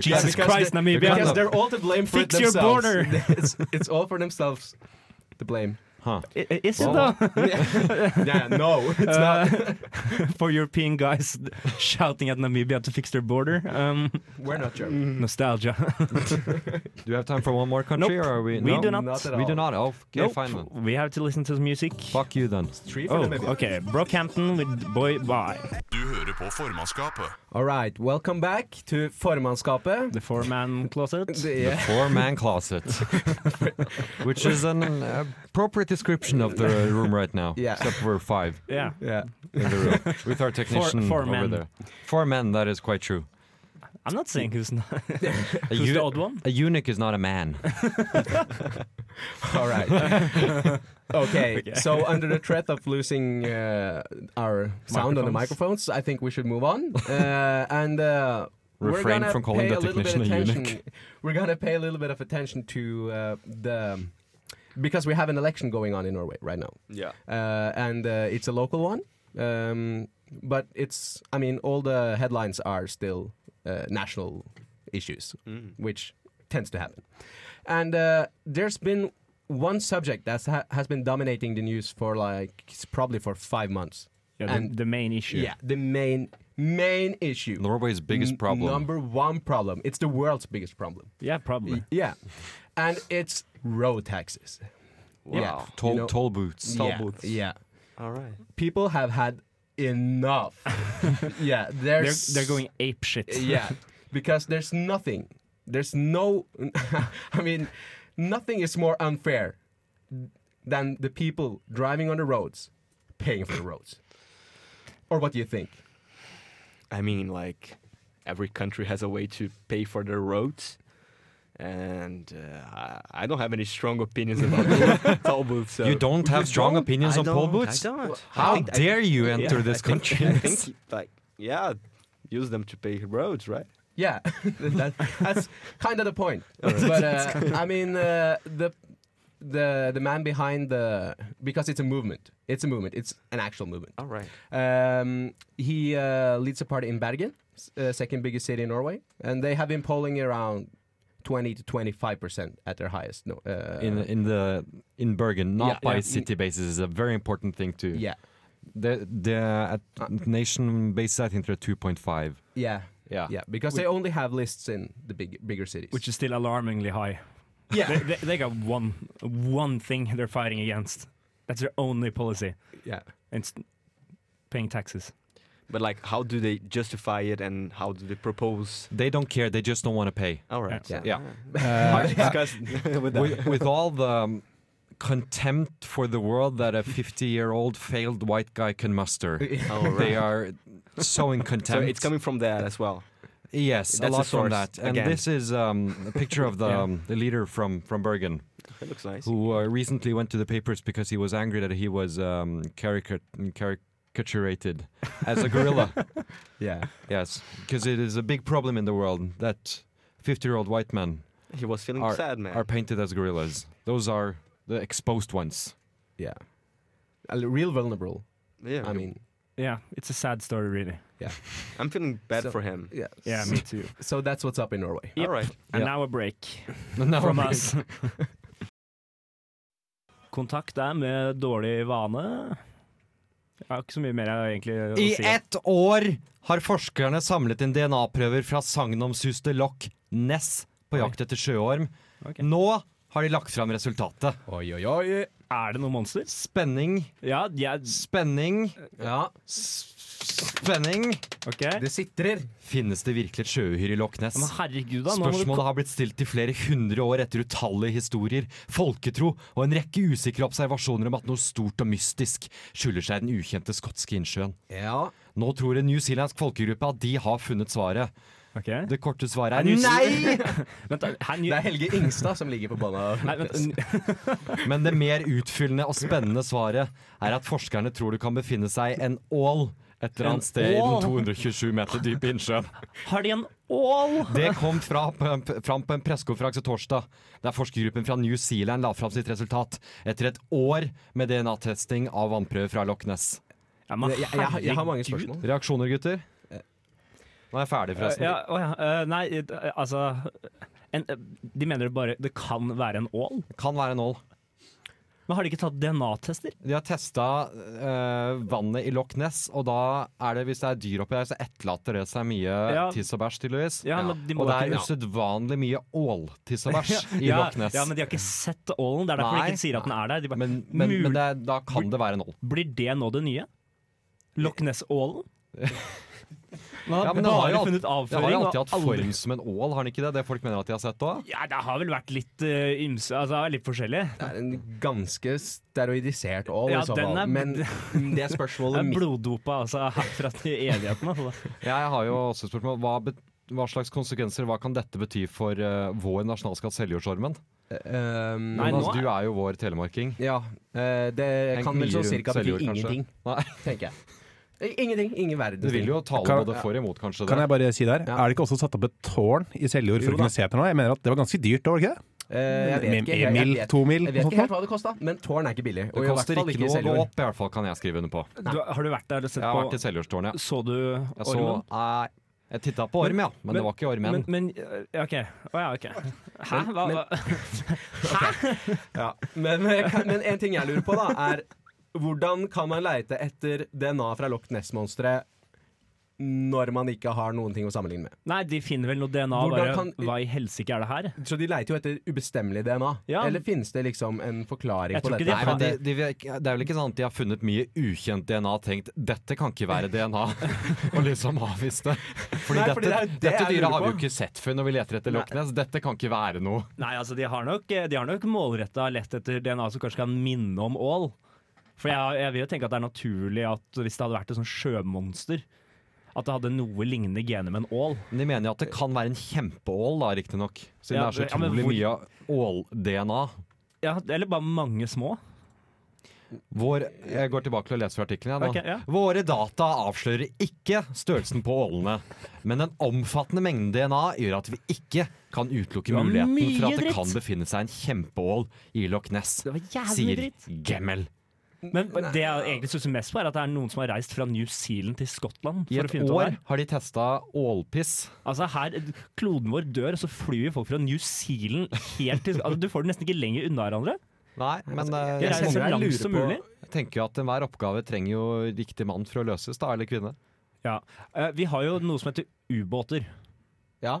[SPEAKER 4] Jesus
[SPEAKER 6] because
[SPEAKER 4] Christ,
[SPEAKER 6] the- Because
[SPEAKER 4] Namibia.
[SPEAKER 6] they're all to blame for
[SPEAKER 4] Fix
[SPEAKER 6] it
[SPEAKER 4] your
[SPEAKER 6] themselves.
[SPEAKER 4] border.
[SPEAKER 6] it's, it's all for themselves to blame.
[SPEAKER 5] Huh.
[SPEAKER 4] I- i- Is it
[SPEAKER 5] Well-
[SPEAKER 4] though?
[SPEAKER 6] yeah, no, it's not.
[SPEAKER 4] Uh, for European guys shouting at Namibia to fix their border. Um,
[SPEAKER 6] We're not German.
[SPEAKER 4] nostalgia.
[SPEAKER 5] Do you have time for one more country,
[SPEAKER 4] Nope.
[SPEAKER 5] or are we?
[SPEAKER 4] We
[SPEAKER 5] no?
[SPEAKER 4] do not.
[SPEAKER 6] Not at all.
[SPEAKER 5] We do not. Oh, okay,
[SPEAKER 4] Nope.
[SPEAKER 5] fine then.
[SPEAKER 4] We have to listen to music.
[SPEAKER 5] Fuck you then.
[SPEAKER 6] Three for
[SPEAKER 4] Oh,
[SPEAKER 6] Namibia.
[SPEAKER 4] okay. Brockhampton with Boy Bye.
[SPEAKER 1] Du hører på formannskapet.
[SPEAKER 6] All right, welcome back to Formannskapet.
[SPEAKER 4] The Four Man Closet.
[SPEAKER 6] The-
[SPEAKER 5] The
[SPEAKER 6] yeah,
[SPEAKER 5] four man closet, which is an appropriate description of the room right now,
[SPEAKER 6] Yeah.
[SPEAKER 5] except for five
[SPEAKER 4] Yeah.
[SPEAKER 6] yeah.
[SPEAKER 5] in the room with our technician
[SPEAKER 4] four
[SPEAKER 5] over
[SPEAKER 4] men.
[SPEAKER 5] there. Four men. That is quite true.
[SPEAKER 4] I'm not saying who's not,
[SPEAKER 5] A,
[SPEAKER 4] who's the
[SPEAKER 5] eu-
[SPEAKER 4] odd one.
[SPEAKER 5] a eunuch is not a man.
[SPEAKER 6] All right. okay.
[SPEAKER 4] Okay.
[SPEAKER 6] So under the threat of losing uh, our sound on the microphones, I think we should move on. Uh, and uh, we're
[SPEAKER 5] Refrain
[SPEAKER 6] gonna
[SPEAKER 5] from calling
[SPEAKER 6] pay
[SPEAKER 5] the
[SPEAKER 6] a little bit
[SPEAKER 5] technician a eunuch.
[SPEAKER 6] attention- We're gonna pay a little bit of attention to uh, the because we have an election going on in Norway right now,
[SPEAKER 8] Yeah,
[SPEAKER 6] uh, and uh, it's a local one. Um, but it's, I mean, all the headlines are still uh,
[SPEAKER 8] Mm.
[SPEAKER 6] national issues, which tends to happen. And uh, there's been one subject that ha- has been dominating the news for like s- probably for five months.
[SPEAKER 4] Yeah, the,
[SPEAKER 6] And-
[SPEAKER 4] the main issue.
[SPEAKER 6] Yeah, the main main issue.
[SPEAKER 5] Norway's biggest
[SPEAKER 6] N-
[SPEAKER 5] problem.
[SPEAKER 6] number one problem. It's the world's biggest problem.
[SPEAKER 4] Yeah, probably.
[SPEAKER 6] Yeah, and it's road taxes. Yeah,
[SPEAKER 5] toll,
[SPEAKER 6] you know-
[SPEAKER 5] toll boots.
[SPEAKER 6] yeah,
[SPEAKER 8] booths.
[SPEAKER 6] Yeah,
[SPEAKER 8] All right.
[SPEAKER 6] people have had enough. yeah,
[SPEAKER 4] They're,
[SPEAKER 6] there's
[SPEAKER 4] they're going ape shit.
[SPEAKER 6] yeah, because there's nothing. There's no. I mean, nothing is more unfair than the people driving on the roads, paying for the roads. Or what do you think?
[SPEAKER 8] I mean, like every country has a way to pay for their roads, and uh, I- I don't have any strong opinions about toll booths. So.
[SPEAKER 5] You don't have strong opinions on toll boots?
[SPEAKER 8] I don't.
[SPEAKER 5] How
[SPEAKER 8] I think,
[SPEAKER 5] dare you enter
[SPEAKER 8] yeah,
[SPEAKER 5] this
[SPEAKER 8] I think-
[SPEAKER 5] country?
[SPEAKER 8] I think, like, yeah, use them to pay roads, right?
[SPEAKER 6] Yeah, that, that's kind of the point. But uh, I mean, uh, the the the man behind the because it's a movement. It's a movement. It's an actual movement.
[SPEAKER 8] All right.
[SPEAKER 6] Um, he uh, leads a party in Bergen, s- uh, second biggest city in Norway, and they have been polling around twenty to twenty-five percent at their highest. No, uh,
[SPEAKER 5] in in the in Bergen, not
[SPEAKER 6] Yeah,
[SPEAKER 5] by
[SPEAKER 6] yeah.
[SPEAKER 5] city basis, is a very important thing too.
[SPEAKER 6] yeah,
[SPEAKER 5] the the at
[SPEAKER 6] Uh,
[SPEAKER 5] nation basis, I think they're two point five.
[SPEAKER 6] yeah,
[SPEAKER 5] Yeah,
[SPEAKER 6] yeah, because they only have lists in the big bigger cities.
[SPEAKER 4] Ah. Which is still alarmingly high.
[SPEAKER 6] yeah,
[SPEAKER 4] They, they, they got one one thing they're fighting against. That's their only policy.
[SPEAKER 6] yeah.
[SPEAKER 4] It's paying taxes.
[SPEAKER 8] But like, how do they justify it, and how do they propose?
[SPEAKER 5] They don't care. They just don't want to pay.
[SPEAKER 8] All right.
[SPEAKER 6] Yeah.
[SPEAKER 5] Yeah.
[SPEAKER 8] Hard to discuss with that.
[SPEAKER 5] with, with all the um, contempt for the world that a fifty-year-old failed white guy can muster,
[SPEAKER 8] All right.
[SPEAKER 5] they are so in
[SPEAKER 8] so
[SPEAKER 5] contempt.
[SPEAKER 8] it's coming from that as well.
[SPEAKER 5] Yes,
[SPEAKER 8] That's
[SPEAKER 5] a
[SPEAKER 8] a
[SPEAKER 5] lot from
[SPEAKER 8] source,
[SPEAKER 5] that. And
[SPEAKER 8] again.
[SPEAKER 5] this is um, a picture of the
[SPEAKER 4] Yeah.
[SPEAKER 5] um, the leader from from Bergen.
[SPEAKER 8] It looks nice.
[SPEAKER 5] who uh, recently went to the papers because he was angry that he was um, caricat- caricaturated as a gorilla.
[SPEAKER 6] yeah.
[SPEAKER 5] yes, because it is a big problem in the world that 50 year old white men
[SPEAKER 8] He was feeling
[SPEAKER 5] Our-
[SPEAKER 8] sad, man.
[SPEAKER 5] are painted as gorillas. Those are the exposed ones.
[SPEAKER 6] Yeah. A l- Real vulnerable.
[SPEAKER 8] yeah.
[SPEAKER 6] I mean,
[SPEAKER 4] Yeah, it's a sad story, really.
[SPEAKER 8] I'm feeling bad
[SPEAKER 6] So-
[SPEAKER 8] for him.
[SPEAKER 6] yeah.
[SPEAKER 4] Yeah, me too.
[SPEAKER 6] So that's what's up in Norway.
[SPEAKER 4] Yep.
[SPEAKER 8] All right.
[SPEAKER 4] And
[SPEAKER 5] Yeah.
[SPEAKER 4] now a break from us. Kontakt er med dårlig vane. Jeg har ikke så mye mer jeg egentlig å
[SPEAKER 5] I
[SPEAKER 4] si.
[SPEAKER 5] ett år har forskerne samlet inn DNA-prøver fra sagnomsuste lokk Ness på
[SPEAKER 4] Oi.
[SPEAKER 5] jakt etter sjøorm.
[SPEAKER 4] Ok.
[SPEAKER 5] Nå har de lagt fram resultatet.
[SPEAKER 6] Oi, oi, oi.
[SPEAKER 4] Er det noe monster?
[SPEAKER 5] Spenning,
[SPEAKER 4] Ja, jeg
[SPEAKER 5] spenning,
[SPEAKER 6] Ja,
[SPEAKER 5] spenning.
[SPEAKER 4] OK.
[SPEAKER 6] det sitrer.
[SPEAKER 5] Finnes det virkelig et sjøuhyr i Loch Ness?
[SPEAKER 4] Men herregud, da. Nå må du
[SPEAKER 5] Spørsmålet har blitt stilt i flere hundre år etter utallige historier, folketro og en rekke usikre observasjoner om at noe stort og mystisk skjuler seg i den ukjente skotske innsjøen.
[SPEAKER 6] Ja.
[SPEAKER 5] Nå tror en newzealandsk folkegruppe at de har funnet svaret.
[SPEAKER 4] Ok.
[SPEAKER 5] Det korte svaret
[SPEAKER 4] New
[SPEAKER 5] er
[SPEAKER 4] Zealand-
[SPEAKER 5] nei!
[SPEAKER 4] Vent, da, her,
[SPEAKER 6] Det er Helge Ingstad som ligger på bånda.
[SPEAKER 4] Nei, vent,
[SPEAKER 5] Men det mer utfyllende og spennende svaret er at forskerne tror det kan befinne seg en ål et eller annet sted i
[SPEAKER 4] ål?
[SPEAKER 5] den 227 meter dype innsjøen.
[SPEAKER 4] Har de en ål?
[SPEAKER 5] Det kom fra, p- fram på en pressekonferanse torsdag, der forskergruppen fra New Zealand la fram sitt resultat etter et år med DNA-testing av vannprøver fra Loch Ness.
[SPEAKER 4] Ja, men
[SPEAKER 6] Jeg, jeg, jeg har mange
[SPEAKER 4] herregud.
[SPEAKER 6] spørsmål.
[SPEAKER 5] Reaksjoner, gutter? Nå er jeg ferdig, forresten.
[SPEAKER 4] Ja, å ja. eh, nei, eh, altså en, eh, De mener det bare det kan være en ål?
[SPEAKER 5] Kan være en ål.
[SPEAKER 4] Men har de ikke tatt DNA-tester?
[SPEAKER 5] De har testa vannet i Loch Ness, og da er det, hvis det er dyr oppi der, så etterlater det seg mye
[SPEAKER 4] Ja.
[SPEAKER 5] tiss og bæsj, tydeligvis.
[SPEAKER 4] Ja, men de må
[SPEAKER 5] Og det
[SPEAKER 4] da
[SPEAKER 5] er
[SPEAKER 4] kunne-
[SPEAKER 5] usedvanlig mye åltiss og bæsj i
[SPEAKER 4] ja,
[SPEAKER 5] Loch Ness.
[SPEAKER 4] ja, men de har ikke sett ålen. Det er derfor
[SPEAKER 5] Nei.
[SPEAKER 4] de ikke sier at den er der. De bare,
[SPEAKER 5] men, men,
[SPEAKER 4] mul-
[SPEAKER 5] men det er, da kan det være en ål.
[SPEAKER 4] Blir det nå det nye? Loch Ness-ålen?
[SPEAKER 5] Ja, men det har
[SPEAKER 4] bare
[SPEAKER 5] jo alt-
[SPEAKER 4] funnet
[SPEAKER 5] Det har
[SPEAKER 4] avføring.
[SPEAKER 5] jo
[SPEAKER 4] og
[SPEAKER 5] alltid hatt
[SPEAKER 4] aldri-
[SPEAKER 5] form som en ål, har den ikke det? Det folk mener at de har sett òg?
[SPEAKER 4] Ja, det har vel vært litt eh, ymse Altså, det er litt forskjellig.
[SPEAKER 6] Det er en ganske steroidisert ål,
[SPEAKER 4] Ja,
[SPEAKER 6] i så
[SPEAKER 4] den
[SPEAKER 6] fall.
[SPEAKER 4] er-
[SPEAKER 6] Men det er
[SPEAKER 4] Det
[SPEAKER 6] spørsmålet
[SPEAKER 4] er
[SPEAKER 6] mitt
[SPEAKER 4] bloddopa altså, herfra til evigheten. Altså.
[SPEAKER 5] Jeg har jo også et spørsmål. Hva, bet- hva slags konsekvenser hva kan dette bety for eh, vår nasjonalskatt, Seljordsormen?
[SPEAKER 6] Ehm,
[SPEAKER 4] Nei,
[SPEAKER 5] Jonas,
[SPEAKER 4] nå er-
[SPEAKER 5] du er jo vår telemarking.
[SPEAKER 6] Ja. eh, det
[SPEAKER 5] En
[SPEAKER 6] kan vel
[SPEAKER 5] mye
[SPEAKER 6] sånn
[SPEAKER 5] rundt
[SPEAKER 6] cirka bety
[SPEAKER 5] Seljord, kanskje?
[SPEAKER 6] ingenting,
[SPEAKER 5] Nei,
[SPEAKER 6] tenker jeg. Eh, Ingenting. Ingen verdens
[SPEAKER 5] Du vil jo tale
[SPEAKER 7] Kan-
[SPEAKER 5] både for og imot, kanskje.
[SPEAKER 7] Kan
[SPEAKER 5] det.
[SPEAKER 7] jeg bare si der,
[SPEAKER 6] Ja.
[SPEAKER 7] Er det ikke også satt opp et tårn i Seljord for
[SPEAKER 6] Jo
[SPEAKER 7] å
[SPEAKER 6] da.
[SPEAKER 7] kunne se etter noe? Jeg mener at det var ganske dyrt, det var ikke det?
[SPEAKER 6] Eh, jeg vet
[SPEAKER 7] Med-
[SPEAKER 6] ikke,
[SPEAKER 7] en
[SPEAKER 6] jeg,
[SPEAKER 7] mil,
[SPEAKER 6] jeg, vet,
[SPEAKER 7] to mil,
[SPEAKER 6] jeg vet
[SPEAKER 7] noe
[SPEAKER 6] ikke helt hva det kosta, men tårn er ikke billig.
[SPEAKER 5] Det
[SPEAKER 6] Og i hvert
[SPEAKER 5] koster
[SPEAKER 6] fall
[SPEAKER 5] ikke noe å
[SPEAKER 6] i
[SPEAKER 5] gå
[SPEAKER 6] Seljord.
[SPEAKER 5] opp, i hvert fall, kan jeg skrive under på.
[SPEAKER 4] Du, har du vært der og sett
[SPEAKER 5] Jeg har vært i
[SPEAKER 4] på
[SPEAKER 5] Seljordstårnet.
[SPEAKER 4] Så du
[SPEAKER 5] Jeg så
[SPEAKER 4] ormen?
[SPEAKER 5] Nei, Jeg titta på orm, ja, men,
[SPEAKER 4] men-
[SPEAKER 5] det var ikke ormen.
[SPEAKER 4] Men, men øh, OK. Å ja, OK. Hæ? Hva,
[SPEAKER 6] Men-
[SPEAKER 4] hva?
[SPEAKER 6] Ja, men, eh, kan- men en ting jeg lurer på, da, er hvordan kan man leite etter DNA fra Loch Ness-monsteret når man ikke har noen ting å sammenligne med?
[SPEAKER 4] Nei, de finner vel noe DNA.
[SPEAKER 6] Hvordan
[SPEAKER 4] Bare,
[SPEAKER 6] kan-
[SPEAKER 4] Hva i helsike er det her?
[SPEAKER 6] Så de leiter jo etter ubestemmelig DNA.
[SPEAKER 4] Ja.
[SPEAKER 6] Eller finnes det liksom en forklaring
[SPEAKER 4] Jeg
[SPEAKER 6] på
[SPEAKER 4] tror ikke
[SPEAKER 6] dette?
[SPEAKER 4] de
[SPEAKER 5] Nei,
[SPEAKER 6] her?
[SPEAKER 5] men det, de, det er vel ikke sånn at de har funnet mye ukjent DNA og tenkt 'dette kan ikke være DNA', og liksom avvist det. Fordi,
[SPEAKER 6] Nei,
[SPEAKER 5] dette,
[SPEAKER 6] fordi det er jo det
[SPEAKER 5] dette
[SPEAKER 6] jeg
[SPEAKER 5] dyret
[SPEAKER 6] lurer
[SPEAKER 5] har vi
[SPEAKER 6] på.
[SPEAKER 5] jo ikke sett før når vi leter etter Loch Ness. Dette kan ikke være noe.
[SPEAKER 4] Nei, altså, de har nok, de har nok målretta lett etter DNA som kanskje kan minne om ål. For jeg, jeg vil jo tenke at det er naturlig at hvis det hadde vært et sånt sjømonster, at det hadde noe lignende gener med en ål.
[SPEAKER 5] Men de mener jo at det kan være en kjempeål, da, riktignok. Siden
[SPEAKER 4] Ja,
[SPEAKER 5] det er
[SPEAKER 4] ja,
[SPEAKER 5] så
[SPEAKER 4] men
[SPEAKER 5] utrolig
[SPEAKER 4] hvor-
[SPEAKER 5] mye ål-DNA.
[SPEAKER 4] Ja, eller bare mange små.
[SPEAKER 5] Vår, jeg går tilbake til å lese fra artikkelen. igjen, da.
[SPEAKER 4] Ok, ja.
[SPEAKER 5] Våre data avslører ikke størrelsen på ålene, men den omfattende mengden DNA gjør at vi ikke kan utelukke
[SPEAKER 4] Det var
[SPEAKER 5] muligheten
[SPEAKER 4] mye
[SPEAKER 5] for at det
[SPEAKER 4] dritt.
[SPEAKER 5] kan befinne seg en kjempeål i Loch Ness,
[SPEAKER 4] Det var jævlig
[SPEAKER 5] sier
[SPEAKER 4] dritt.
[SPEAKER 5] Gemmel.
[SPEAKER 4] Men det jeg egentlig stusser mest på, er at det er noen som har reist fra New Zealand til Skottland
[SPEAKER 5] I
[SPEAKER 4] for å
[SPEAKER 5] et
[SPEAKER 4] finne ut av det
[SPEAKER 5] år
[SPEAKER 4] her.
[SPEAKER 5] har de testa ålpiss.
[SPEAKER 4] Altså her, Kloden vår dør, og så flyr folk fra New Zealand helt til altså, Du får det nesten ikke lenger unna hverandre.
[SPEAKER 5] Nei, men eh,
[SPEAKER 4] Jeg
[SPEAKER 5] jeg,
[SPEAKER 4] reiser altså, så
[SPEAKER 6] jeg lurer
[SPEAKER 4] langt som
[SPEAKER 6] på-
[SPEAKER 4] mulig.
[SPEAKER 5] tenker jo at enhver oppgave trenger jo riktig mann for å løses, da, eller kvinne.
[SPEAKER 4] Ja. Eh, Vi har jo noe som heter ubåter.
[SPEAKER 6] Ja.